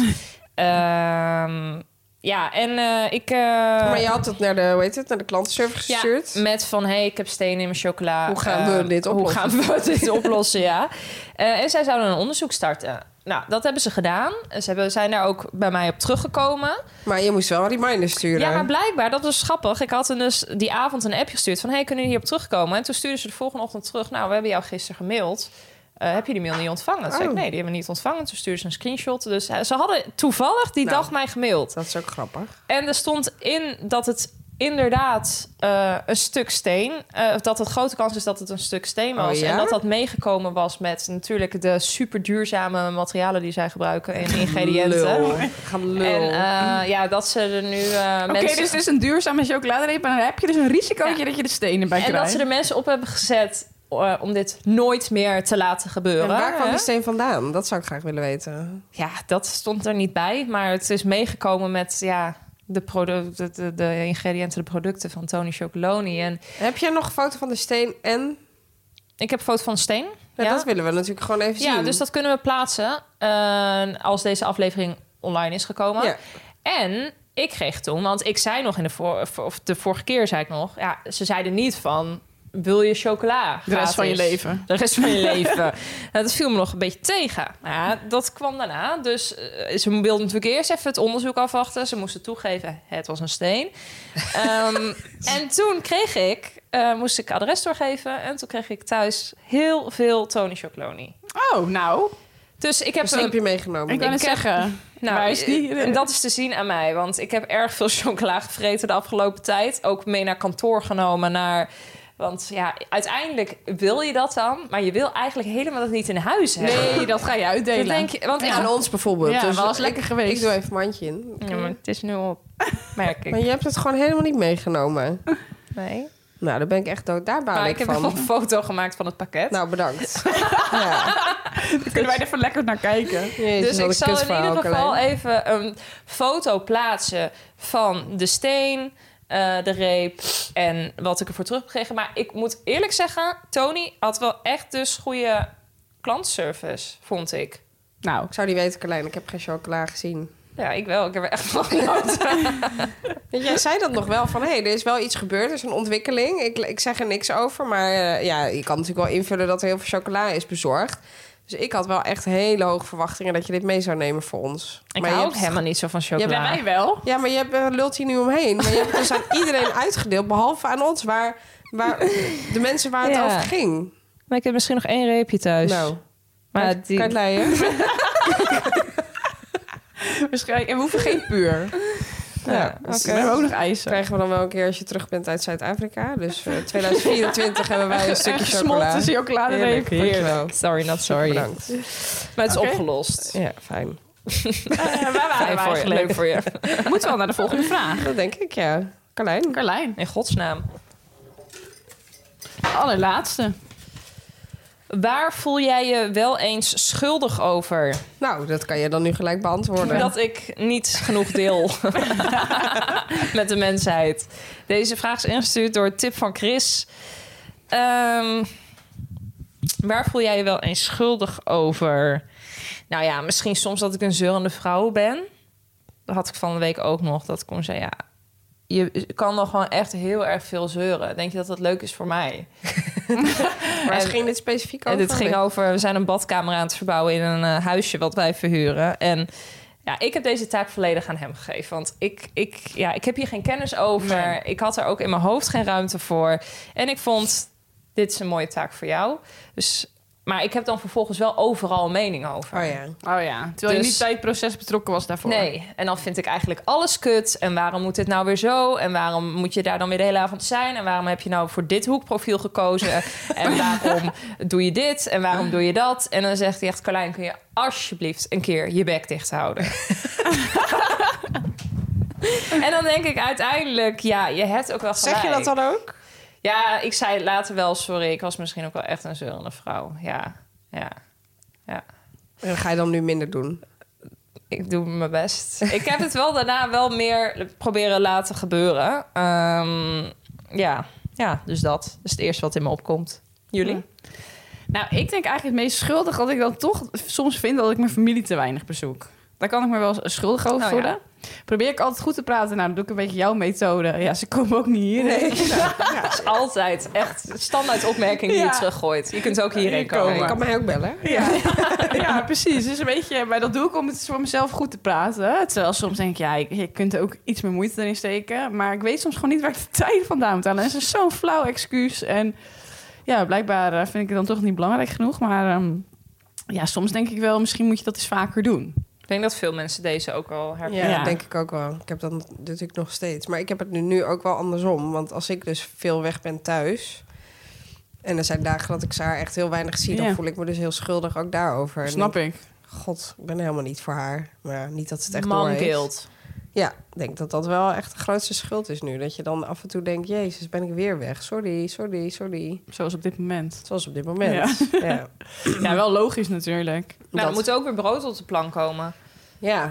Speaker 8: Ehm, ja, en eh, ik... eh,
Speaker 9: Maar je had het naar de, hoe heet het, naar de klantenservice
Speaker 8: ja,
Speaker 9: gestuurd.
Speaker 8: met van, hey, ik heb steen in mijn chocola.
Speaker 9: Hoe gaan we
Speaker 8: Eh,
Speaker 9: dit oplossen?
Speaker 8: Hoe gaan we
Speaker 9: [laughs]
Speaker 8: dit oplossen, ja. Eh, en zij zouden een onderzoek starten. Nou, dat hebben ze gedaan. Ze hebben, zijn daar ook bij mij op teruggekomen.
Speaker 9: Maar je moest wel een reminder sturen.
Speaker 8: Ja, maar blijkbaar, dat was grappig. Ik had hen dus die avond een appje gestuurd van... hey, kunnen jullie hierop terugkomen? En toen stuurden ze de volgende ochtend terug... nou, we hebben jou gisteren gemaild. eh, heb je die mail niet ontvangen? Toen zei ik,
Speaker 9: Oh.
Speaker 8: nee, die hebben we niet ontvangen. Toen stuurde ze een screenshot. Dus eh, ze hadden toevallig die
Speaker 9: Nou.
Speaker 8: dag mij gemaild.
Speaker 9: Dat is ook grappig.
Speaker 8: En er stond in dat het inderdaad eh, een stuk steen... eh, of dat het grote kans is dat het een stuk steen was.
Speaker 9: Oh, ja?
Speaker 8: En dat dat meegekomen was met natuurlijk de super duurzame materialen... die zij gebruiken en ingrediënten.
Speaker 9: Gaan
Speaker 8: En eh, ja, dat ze er nu eh,
Speaker 7: Oké,
Speaker 8: mensen...
Speaker 7: dus het is een duurzame chocoladereep. En dan heb je dus een risicootje dat je de stenen bij
Speaker 8: en dat
Speaker 7: krijgt.
Speaker 8: ze er mensen op hebben gezet eh, om dit nooit meer te laten gebeuren.
Speaker 9: en waar kwam
Speaker 8: hè?
Speaker 9: die steen vandaan? Dat zou ik graag willen weten.
Speaker 8: Ja, dat stond er niet bij. Maar het is meegekomen met ja, de, produ- de, de, de ingrediënten, de producten van Tony Chocoloni. En
Speaker 9: Heb jij nog een foto van de steen en...
Speaker 8: ik heb een foto van Steen.
Speaker 9: Ja, Dat willen we natuurlijk gewoon even zien.
Speaker 8: Ja, dus dat kunnen we plaatsen eh, als deze aflevering online is gekomen.
Speaker 9: Ja.
Speaker 8: En ik kreeg toen, want ik zei nog in de, voor, of de vorige keer, zei ik nog, ja, ze zeiden niet van. Wil je chocola?
Speaker 7: De rest van je
Speaker 8: gratis?
Speaker 7: leven.
Speaker 8: De rest van je leven. Nou, dat viel me nog een beetje tegen. Maar ja, dat kwam daarna. Dus eh, ze wilden natuurlijk eerst even het onderzoek afwachten. Ze moesten toegeven, het was een steen. Ehm, en toen kreeg ik, eh, moest ik adres doorgeven. En toen kreeg ik thuis heel veel Tony Chocoloni.
Speaker 7: Oh, nou.
Speaker 8: Dus ik heb
Speaker 9: Dus die heb
Speaker 8: een,
Speaker 9: je meegenomen.
Speaker 7: Ik kan
Speaker 8: Ik
Speaker 7: het
Speaker 8: heb-
Speaker 7: zeggen.
Speaker 8: nou,
Speaker 7: Waar is die?
Speaker 8: eh, en dat is te zien aan mij, want ik heb erg veel [laughs] chocola gevreten de afgelopen tijd. Ook mee naar kantoor genomen naar. Want ja, uiteindelijk wil je dat dan, maar je wil eigenlijk helemaal dat niet in huis hebben.
Speaker 7: Nee, dat ga je
Speaker 8: Dan
Speaker 7: uitdelen.
Speaker 8: denk je, want ik-
Speaker 9: Aan ons bijvoorbeeld.
Speaker 7: Ja,
Speaker 9: dus
Speaker 7: wel eens
Speaker 9: ik-
Speaker 7: lekker geweest.
Speaker 9: Ik doe even mijn handje in.
Speaker 8: Ja, maar het is nu op, merk
Speaker 9: Maar
Speaker 8: ik.
Speaker 9: je hebt het gewoon helemaal niet meegenomen.
Speaker 8: Nee.
Speaker 9: Nou, daar ben ik echt dood. Daar baal
Speaker 8: Maar
Speaker 9: ik,
Speaker 8: ik heb
Speaker 9: van.
Speaker 8: wel een foto gemaakt van het pakket.
Speaker 9: Nou, [laughs] bedankt. ja.
Speaker 7: Dan kunnen wij er even lekker naar kijken.
Speaker 9: Jezus,
Speaker 8: dus
Speaker 9: wat
Speaker 8: ik
Speaker 9: een
Speaker 8: zal in
Speaker 9: kutverhaal,
Speaker 8: ieder geval
Speaker 9: Carlijn.
Speaker 8: even een foto plaatsen van de steen, eh, de reep en wat ik ervoor terug heb gekregen. Maar ik moet eerlijk zeggen, Tony had wel echt dus goede klantservice, vond ik.
Speaker 7: Nou,
Speaker 9: Ik zou niet weten, Carlijn. Ik heb geen chocola gezien.
Speaker 8: Ja, ik wel. Ik heb er echt [laughs] van genoten.
Speaker 9: Want Jij zei dat nog wel van, hé, hey, er is wel iets gebeurd. Er is een ontwikkeling. Ik, ik zeg er niks over. Maar eh, ja, je kan natuurlijk wel invullen dat er heel veel chocola is bezorgd. Dus ik had wel echt hele hoge verwachtingen dat je dit mee zou nemen voor ons.
Speaker 8: Ik
Speaker 9: maar je
Speaker 8: hou ook
Speaker 9: hebt-
Speaker 8: helemaal niet zo van
Speaker 7: ja, bij
Speaker 8: chocola.
Speaker 7: mij wel.
Speaker 9: Ja, maar je hebt, eh, lult hier nu omheen. Maar je hebt het dus aan
Speaker 8: [laughs]
Speaker 9: iedereen uitgedeeld, behalve aan ons, waar, waar de mensen waar het
Speaker 8: Ja.
Speaker 9: over ging.
Speaker 8: Maar ik heb misschien nog één reepje thuis.
Speaker 9: Nou,
Speaker 8: maar
Speaker 9: kan je
Speaker 8: [laughs]
Speaker 9: het leien?
Speaker 7: Waarschijnlijk. En we hoeven geen puur.
Speaker 9: Ja, dus
Speaker 7: We hebben ook nog ijzer.
Speaker 9: krijgen we dan wel een keer als je terug bent uit Zuid-Afrika.
Speaker 8: [laughs]
Speaker 9: Dus eh, 2024 hebben wij een stukje chocola.
Speaker 7: gesmolten chocoladereep.
Speaker 9: Heerlijk, heerlijk.
Speaker 8: Sorry, not sorry.
Speaker 9: Bedankt.
Speaker 8: Maar het is
Speaker 7: Oké.
Speaker 8: opgelost.
Speaker 9: Ja,
Speaker 8: [laughs]
Speaker 9: fijn.
Speaker 7: Eh, waar waren we
Speaker 8: Fijn voor je,
Speaker 7: eigenlijk?
Speaker 8: leuk voor je.
Speaker 7: Moeten we al naar de volgende vraag.
Speaker 9: Dat denk ik, ja. Carlijn?
Speaker 7: Carlijn,
Speaker 8: In godsnaam.
Speaker 7: de allerlaatste.
Speaker 8: Waar voel jij je wel eens schuldig over?
Speaker 9: Nou, dat kan je dan nu gelijk beantwoorden.
Speaker 8: Dat ik niet genoeg deel [laughs] met de mensheid. Deze vraag is ingestuurd door Tip van Chris. Ehm, waar voel jij je wel eens schuldig over? Nou ja, misschien soms dat ik een zeurende vrouw ben. Dat had ik van de week ook nog. Dat ik kon zei, ja, je kan nog gewoon echt heel erg veel zeuren. Denk je dat dat leuk is voor mij?
Speaker 9: maar
Speaker 8: en-
Speaker 9: ging dit specifiek
Speaker 8: En
Speaker 9: over? Oh
Speaker 8: dit ging over, we zijn een badkamer aan het verbouwen in een eh, huisje wat wij verhuren. En ja, ik heb deze taak volledig aan hem gegeven. Want ik, ik, ja, ik heb hier geen kennis over. Ik had er ook in mijn hoofd geen ruimte voor. En ik vond, dit is een mooie taak voor jou. Dus, maar ik heb dan vervolgens wel overal een mening over.
Speaker 9: Oh ja.
Speaker 7: Oh ja, terwijl je
Speaker 8: Dus-
Speaker 7: niet bij het proces betrokken was daarvoor.
Speaker 8: Nee, en dan vind ik eigenlijk alles kut. En waarom moet dit nou weer zo? En waarom moet je daar dan weer de hele avond zijn? En waarom heb je nou voor dit hoekprofiel
Speaker 9: [laughs]
Speaker 8: gekozen? en waarom doe je dit? En waarom doe je dat? En dan zegt hij echt, Carlijn, kun je alsjeblieft een keer je bek dicht
Speaker 9: [laughs]
Speaker 8: houden? en dan denk ik uiteindelijk, ja, je hebt ook wel gelijk.
Speaker 9: Zeg je dat dan ook?
Speaker 8: Ja, ik zei later wel, sorry, ik was misschien ook wel echt een zeurende vrouw. Ja, ja, ja.
Speaker 9: En dat ga je dan nu minder doen?
Speaker 8: ik doe mijn [laughs] best. ik heb het wel daarna wel meer proberen laten gebeuren. Ehm, ja. ja, dus dat is het eerste wat in me opkomt. Jullie?
Speaker 7: Nou, ik denk eigenlijk het meest schuldig dat ik dan toch soms vind dat ik mijn familie te weinig bezoek. Daar kan ik me wel schuldig over
Speaker 8: Oh ja.
Speaker 7: voelen. Probeer ik altijd goed te praten. Nou, dan doe ik een beetje jouw methode. Ja, ze komen ook niet hier.
Speaker 8: [laughs] Dat is altijd echt standaard opmerking die
Speaker 7: Ja.
Speaker 8: je teruggooit. Je kunt ook hierheen
Speaker 7: Hier
Speaker 8: komen.
Speaker 7: komen.
Speaker 9: Je kan mij ook bellen.
Speaker 7: Ja. [laughs] ja, precies. Dus een beetje, maar dat doe ik om het voor mezelf goed te praten. Terwijl soms denk ik, ja, ik- je kunt er ook iets meer moeite erin steken. Maar ik weet soms gewoon niet waar ik de tijd vandaan moet halen. En het is zo'n flauw excuus. En ja, blijkbaar eh, vind ik het dan toch niet belangrijk genoeg. Maar ehm, ja, soms denk ik wel, misschien moet je dat eens vaker doen.
Speaker 8: Ik denk dat veel mensen deze ook al herkennen.
Speaker 9: Ja,
Speaker 7: Ja.
Speaker 9: dat denk ik ook wel. Ik heb dat natuurlijk nog steeds. Maar ik heb het nu, nu ook wel andersom. Want als ik dus veel weg ben thuis... en er zijn dagen dat ik ze haar echt heel weinig zie...
Speaker 7: Ja.
Speaker 9: dan voel ik me dus heel schuldig ook daarover. En
Speaker 7: Snap ik.
Speaker 9: denk, God, ik ben helemaal niet voor haar. Maar ja, niet dat ze het echt door
Speaker 8: Man
Speaker 9: heeft.
Speaker 8: guilt.
Speaker 9: Ja, ik denk dat dat wel echt de grootste schuld is nu. Dat je dan af en toe denkt... Jezus, ben ik weer weg. Sorry, sorry, sorry.
Speaker 7: Zoals op dit moment.
Speaker 9: Zoals op dit moment. Ja,
Speaker 7: [laughs]
Speaker 9: ja.
Speaker 7: Ja, wel logisch natuurlijk.
Speaker 8: Nou,
Speaker 9: Dat-
Speaker 8: er moet ook weer brood op de plank komen.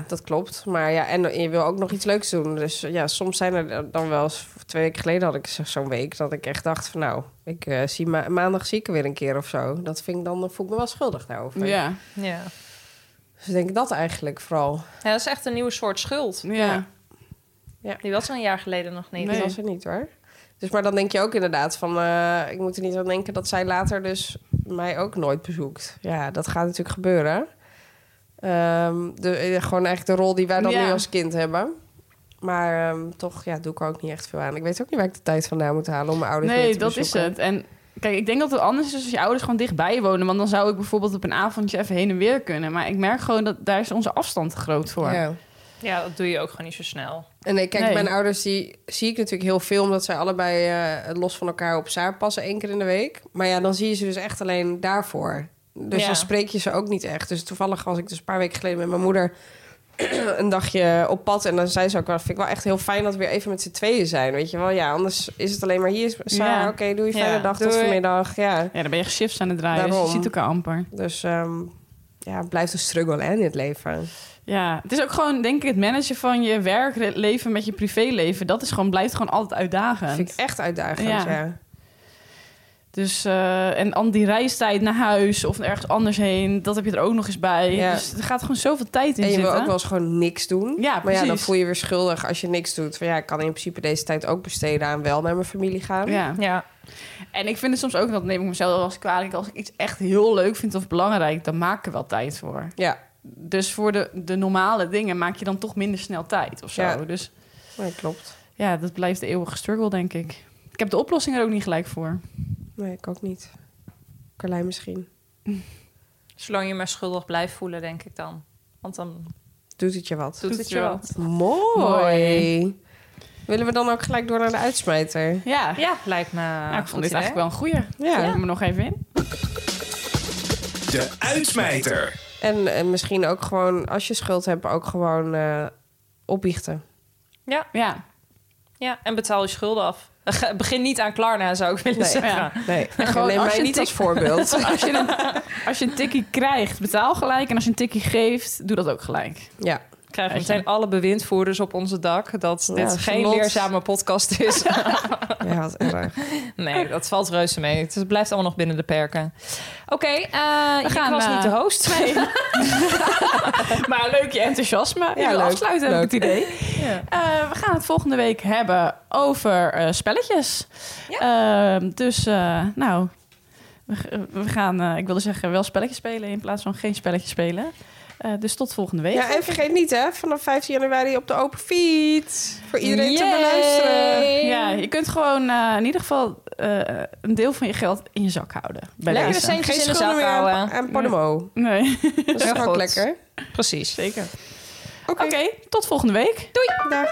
Speaker 9: dat klopt. Maar ja, en je wil ook nog iets leuks doen. Dus ja, soms zijn er dan wel eens... Twee weken geleden had ik zo- zo'n week dat ik echt dacht van... Nou, ik eh, zie ma- maandag zie ik er weer een keer of zo. Dat vind ik dan, dan voel ik me wel schuldig daarover.
Speaker 7: Ja.
Speaker 8: Ja.
Speaker 9: Dus ik denk dat eigenlijk vooral.
Speaker 8: Ja, dat is echt een nieuwe soort schuld.
Speaker 7: Ja.
Speaker 8: Die was er een jaar geleden nog niet.
Speaker 9: Nee. Dat was het niet hoor. Dus maar dan denk je ook inderdaad van... eh, ik moet er niet aan denken dat zij later dus mij ook nooit bezoekt. Ja, dat gaat natuurlijk gebeuren. Ehm, de, eh, gewoon echt de rol die wij dan
Speaker 7: Ja.
Speaker 9: nu als kind hebben. Maar ehm, toch ja, doe ik er ook niet echt veel aan. Ik weet ook niet waar ik de tijd vandaan moet halen om mijn ouders weer
Speaker 7: Nee,
Speaker 9: te
Speaker 7: dat is
Speaker 9: bezoeken.
Speaker 7: het. En kijk, ik denk dat het anders is als je ouders gewoon dichtbij wonen. Want dan zou ik bijvoorbeeld op een avondje even heen en weer kunnen. Maar ik merk gewoon dat daar is onze afstand te groot voor. Ja.
Speaker 9: Ja.
Speaker 8: Ja, dat doe je ook gewoon niet zo snel.
Speaker 9: En nee, kijk,
Speaker 7: Nee.
Speaker 9: mijn ouders die zie ik natuurlijk heel veel... omdat zij allebei eh, los van elkaar op zaar passen één keer in de week. Maar ja, dan zie je ze dus echt alleen daarvoor. Dus
Speaker 8: Ja.
Speaker 9: dan spreek je ze ook niet echt. Dus toevallig was ik dus een paar weken geleden met mijn moeder... [clears throat] een dagje op pad. En dan zei ze ook wel... vind ik wel echt heel fijn dat we weer even met z'n tweeën zijn. Weet je wel, ja, anders is het alleen maar hier. Sarah,
Speaker 7: Ja.
Speaker 9: oké, doei,
Speaker 8: Ja.
Speaker 9: fijne dag, tot
Speaker 8: Doei.
Speaker 9: vanmiddag. Ja,
Speaker 7: dan ben je echt shifts aan het draaien. Dus je
Speaker 9: Daarom.
Speaker 7: ziet elkaar amper.
Speaker 9: dus... ehm, ja, het blijft een struggle hè, in het leven.
Speaker 7: Ja, het is ook gewoon, denk ik, het managen van je werkleven met je privéleven. Dat is gewoon, blijft gewoon altijd
Speaker 9: Dat
Speaker 7: uitdagend.
Speaker 9: vind ik echt uitdagend,
Speaker 7: Ja.
Speaker 9: ja.
Speaker 7: Dus, eh, en dan die reistijd naar huis of ergens anders heen, dat heb je er ook nog eens bij.
Speaker 9: Ja.
Speaker 7: Dus er gaat gewoon zoveel tijd in
Speaker 9: En je
Speaker 7: zitten.
Speaker 9: wil ook wel eens gewoon niks doen.
Speaker 7: Ja,
Speaker 9: maar ja, dan
Speaker 7: precies.
Speaker 9: voel je weer schuldig als je niks doet. Van ja, ik kan in principe deze tijd ook besteden aan wel naar mijn familie gaan.
Speaker 7: Ja.
Speaker 8: Ja.
Speaker 7: En ik vind het soms ook, dat neem ik mezelf wel eens kwalijk, als ik iets echt heel leuk vind of belangrijk, dan maak ik er wel tijd voor.
Speaker 9: Ja,
Speaker 7: Dus voor de, de normale dingen maak je dan toch minder snel tijd of zo.
Speaker 9: Ja.
Speaker 7: Dus
Speaker 9: nee, klopt.
Speaker 7: ja, dat blijft de eeuwige struggle, denk ik. Ik heb de oplossing er ook niet gelijk voor.
Speaker 9: Nee, ik ook niet. Carlijn misschien.
Speaker 8: Zolang je maar schuldig blijft voelen, denk ik dan. Want dan
Speaker 9: Doet het je wat?
Speaker 8: doet, het je wat.
Speaker 9: Mooi.
Speaker 7: Mooi.
Speaker 9: Willen we dan ook gelijk door naar de uitsmijter?
Speaker 7: Ja,
Speaker 8: Ja, lijkt me.
Speaker 7: Nou, ik vond dit
Speaker 8: goed idee.
Speaker 7: eigenlijk wel een goeie.
Speaker 9: Ja.
Speaker 7: Zet me nog even in.
Speaker 5: De uitsmijter.
Speaker 9: En, en misschien ook gewoon, als je schuld hebt, ook gewoon eh, opbiechten.
Speaker 7: Ja,
Speaker 8: Ja, en betaal je schulden af. [laughs] Begin niet aan Klarna, zou ik willen
Speaker 9: Nee.
Speaker 8: zeggen.
Speaker 7: Ja.
Speaker 9: [laughs] Nee,
Speaker 7: gewoon
Speaker 9: neem
Speaker 7: als
Speaker 9: mij
Speaker 7: je
Speaker 9: niet
Speaker 7: tik-
Speaker 9: als
Speaker 7: [laughs]
Speaker 9: voorbeeld.
Speaker 7: als je, een,
Speaker 9: [laughs]
Speaker 7: als je een tikkie krijgt, betaal gelijk. En als je een tikkie geeft, doe dat ook gelijk.
Speaker 9: ja.
Speaker 8: Krijgen we meteen alle bewindvoerders op onze dak dat
Speaker 9: Ja,
Speaker 8: dit geen
Speaker 9: Charlotte.
Speaker 8: leerzame
Speaker 7: [laughs]
Speaker 8: podcast is.
Speaker 9: ja, wat erg.
Speaker 8: nee, dat valt reuze mee. Het blijft allemaal nog binnen de perken. Oké, eh, ik
Speaker 7: gaan,
Speaker 8: was
Speaker 7: eh,
Speaker 8: niet de host. [laughs]
Speaker 7: Maar leuk je enthousiasme. Ja,
Speaker 9: leuk,
Speaker 7: afsluiten heb ik
Speaker 9: leuk.
Speaker 7: het idee.
Speaker 9: [laughs]
Speaker 7: Eh, we gaan het volgende week hebben over eh, spelletjes. Ehm, dus, eh, nou, we, g- we gaan, eh, ik wilde zeggen, wel spelletjes spelen in plaats van geen spelletjes spelen. Eh, dus tot volgende week.
Speaker 9: Ja, en vergeet niet hè, vanaf 15 januari op de open feed. Voor iedereen te
Speaker 7: Yay!
Speaker 9: beluisteren.
Speaker 7: Ja, je kunt gewoon eh, in ieder geval eh, een deel van je geld in je zak houden. Bij
Speaker 8: Lekker
Speaker 7: deze.
Speaker 8: recentjes
Speaker 9: Geen
Speaker 8: in de
Speaker 9: schoenen
Speaker 8: zak
Speaker 9: meer aan,
Speaker 8: houden.
Speaker 9: aan Podemo. [laughs]
Speaker 7: Nee,
Speaker 9: Dat is
Speaker 8: Heel
Speaker 9: toch
Speaker 8: goed.
Speaker 9: ook lekker.
Speaker 8: Precies.
Speaker 7: zeker.
Speaker 9: Oké,
Speaker 7: Oké, tot volgende week.
Speaker 9: dag.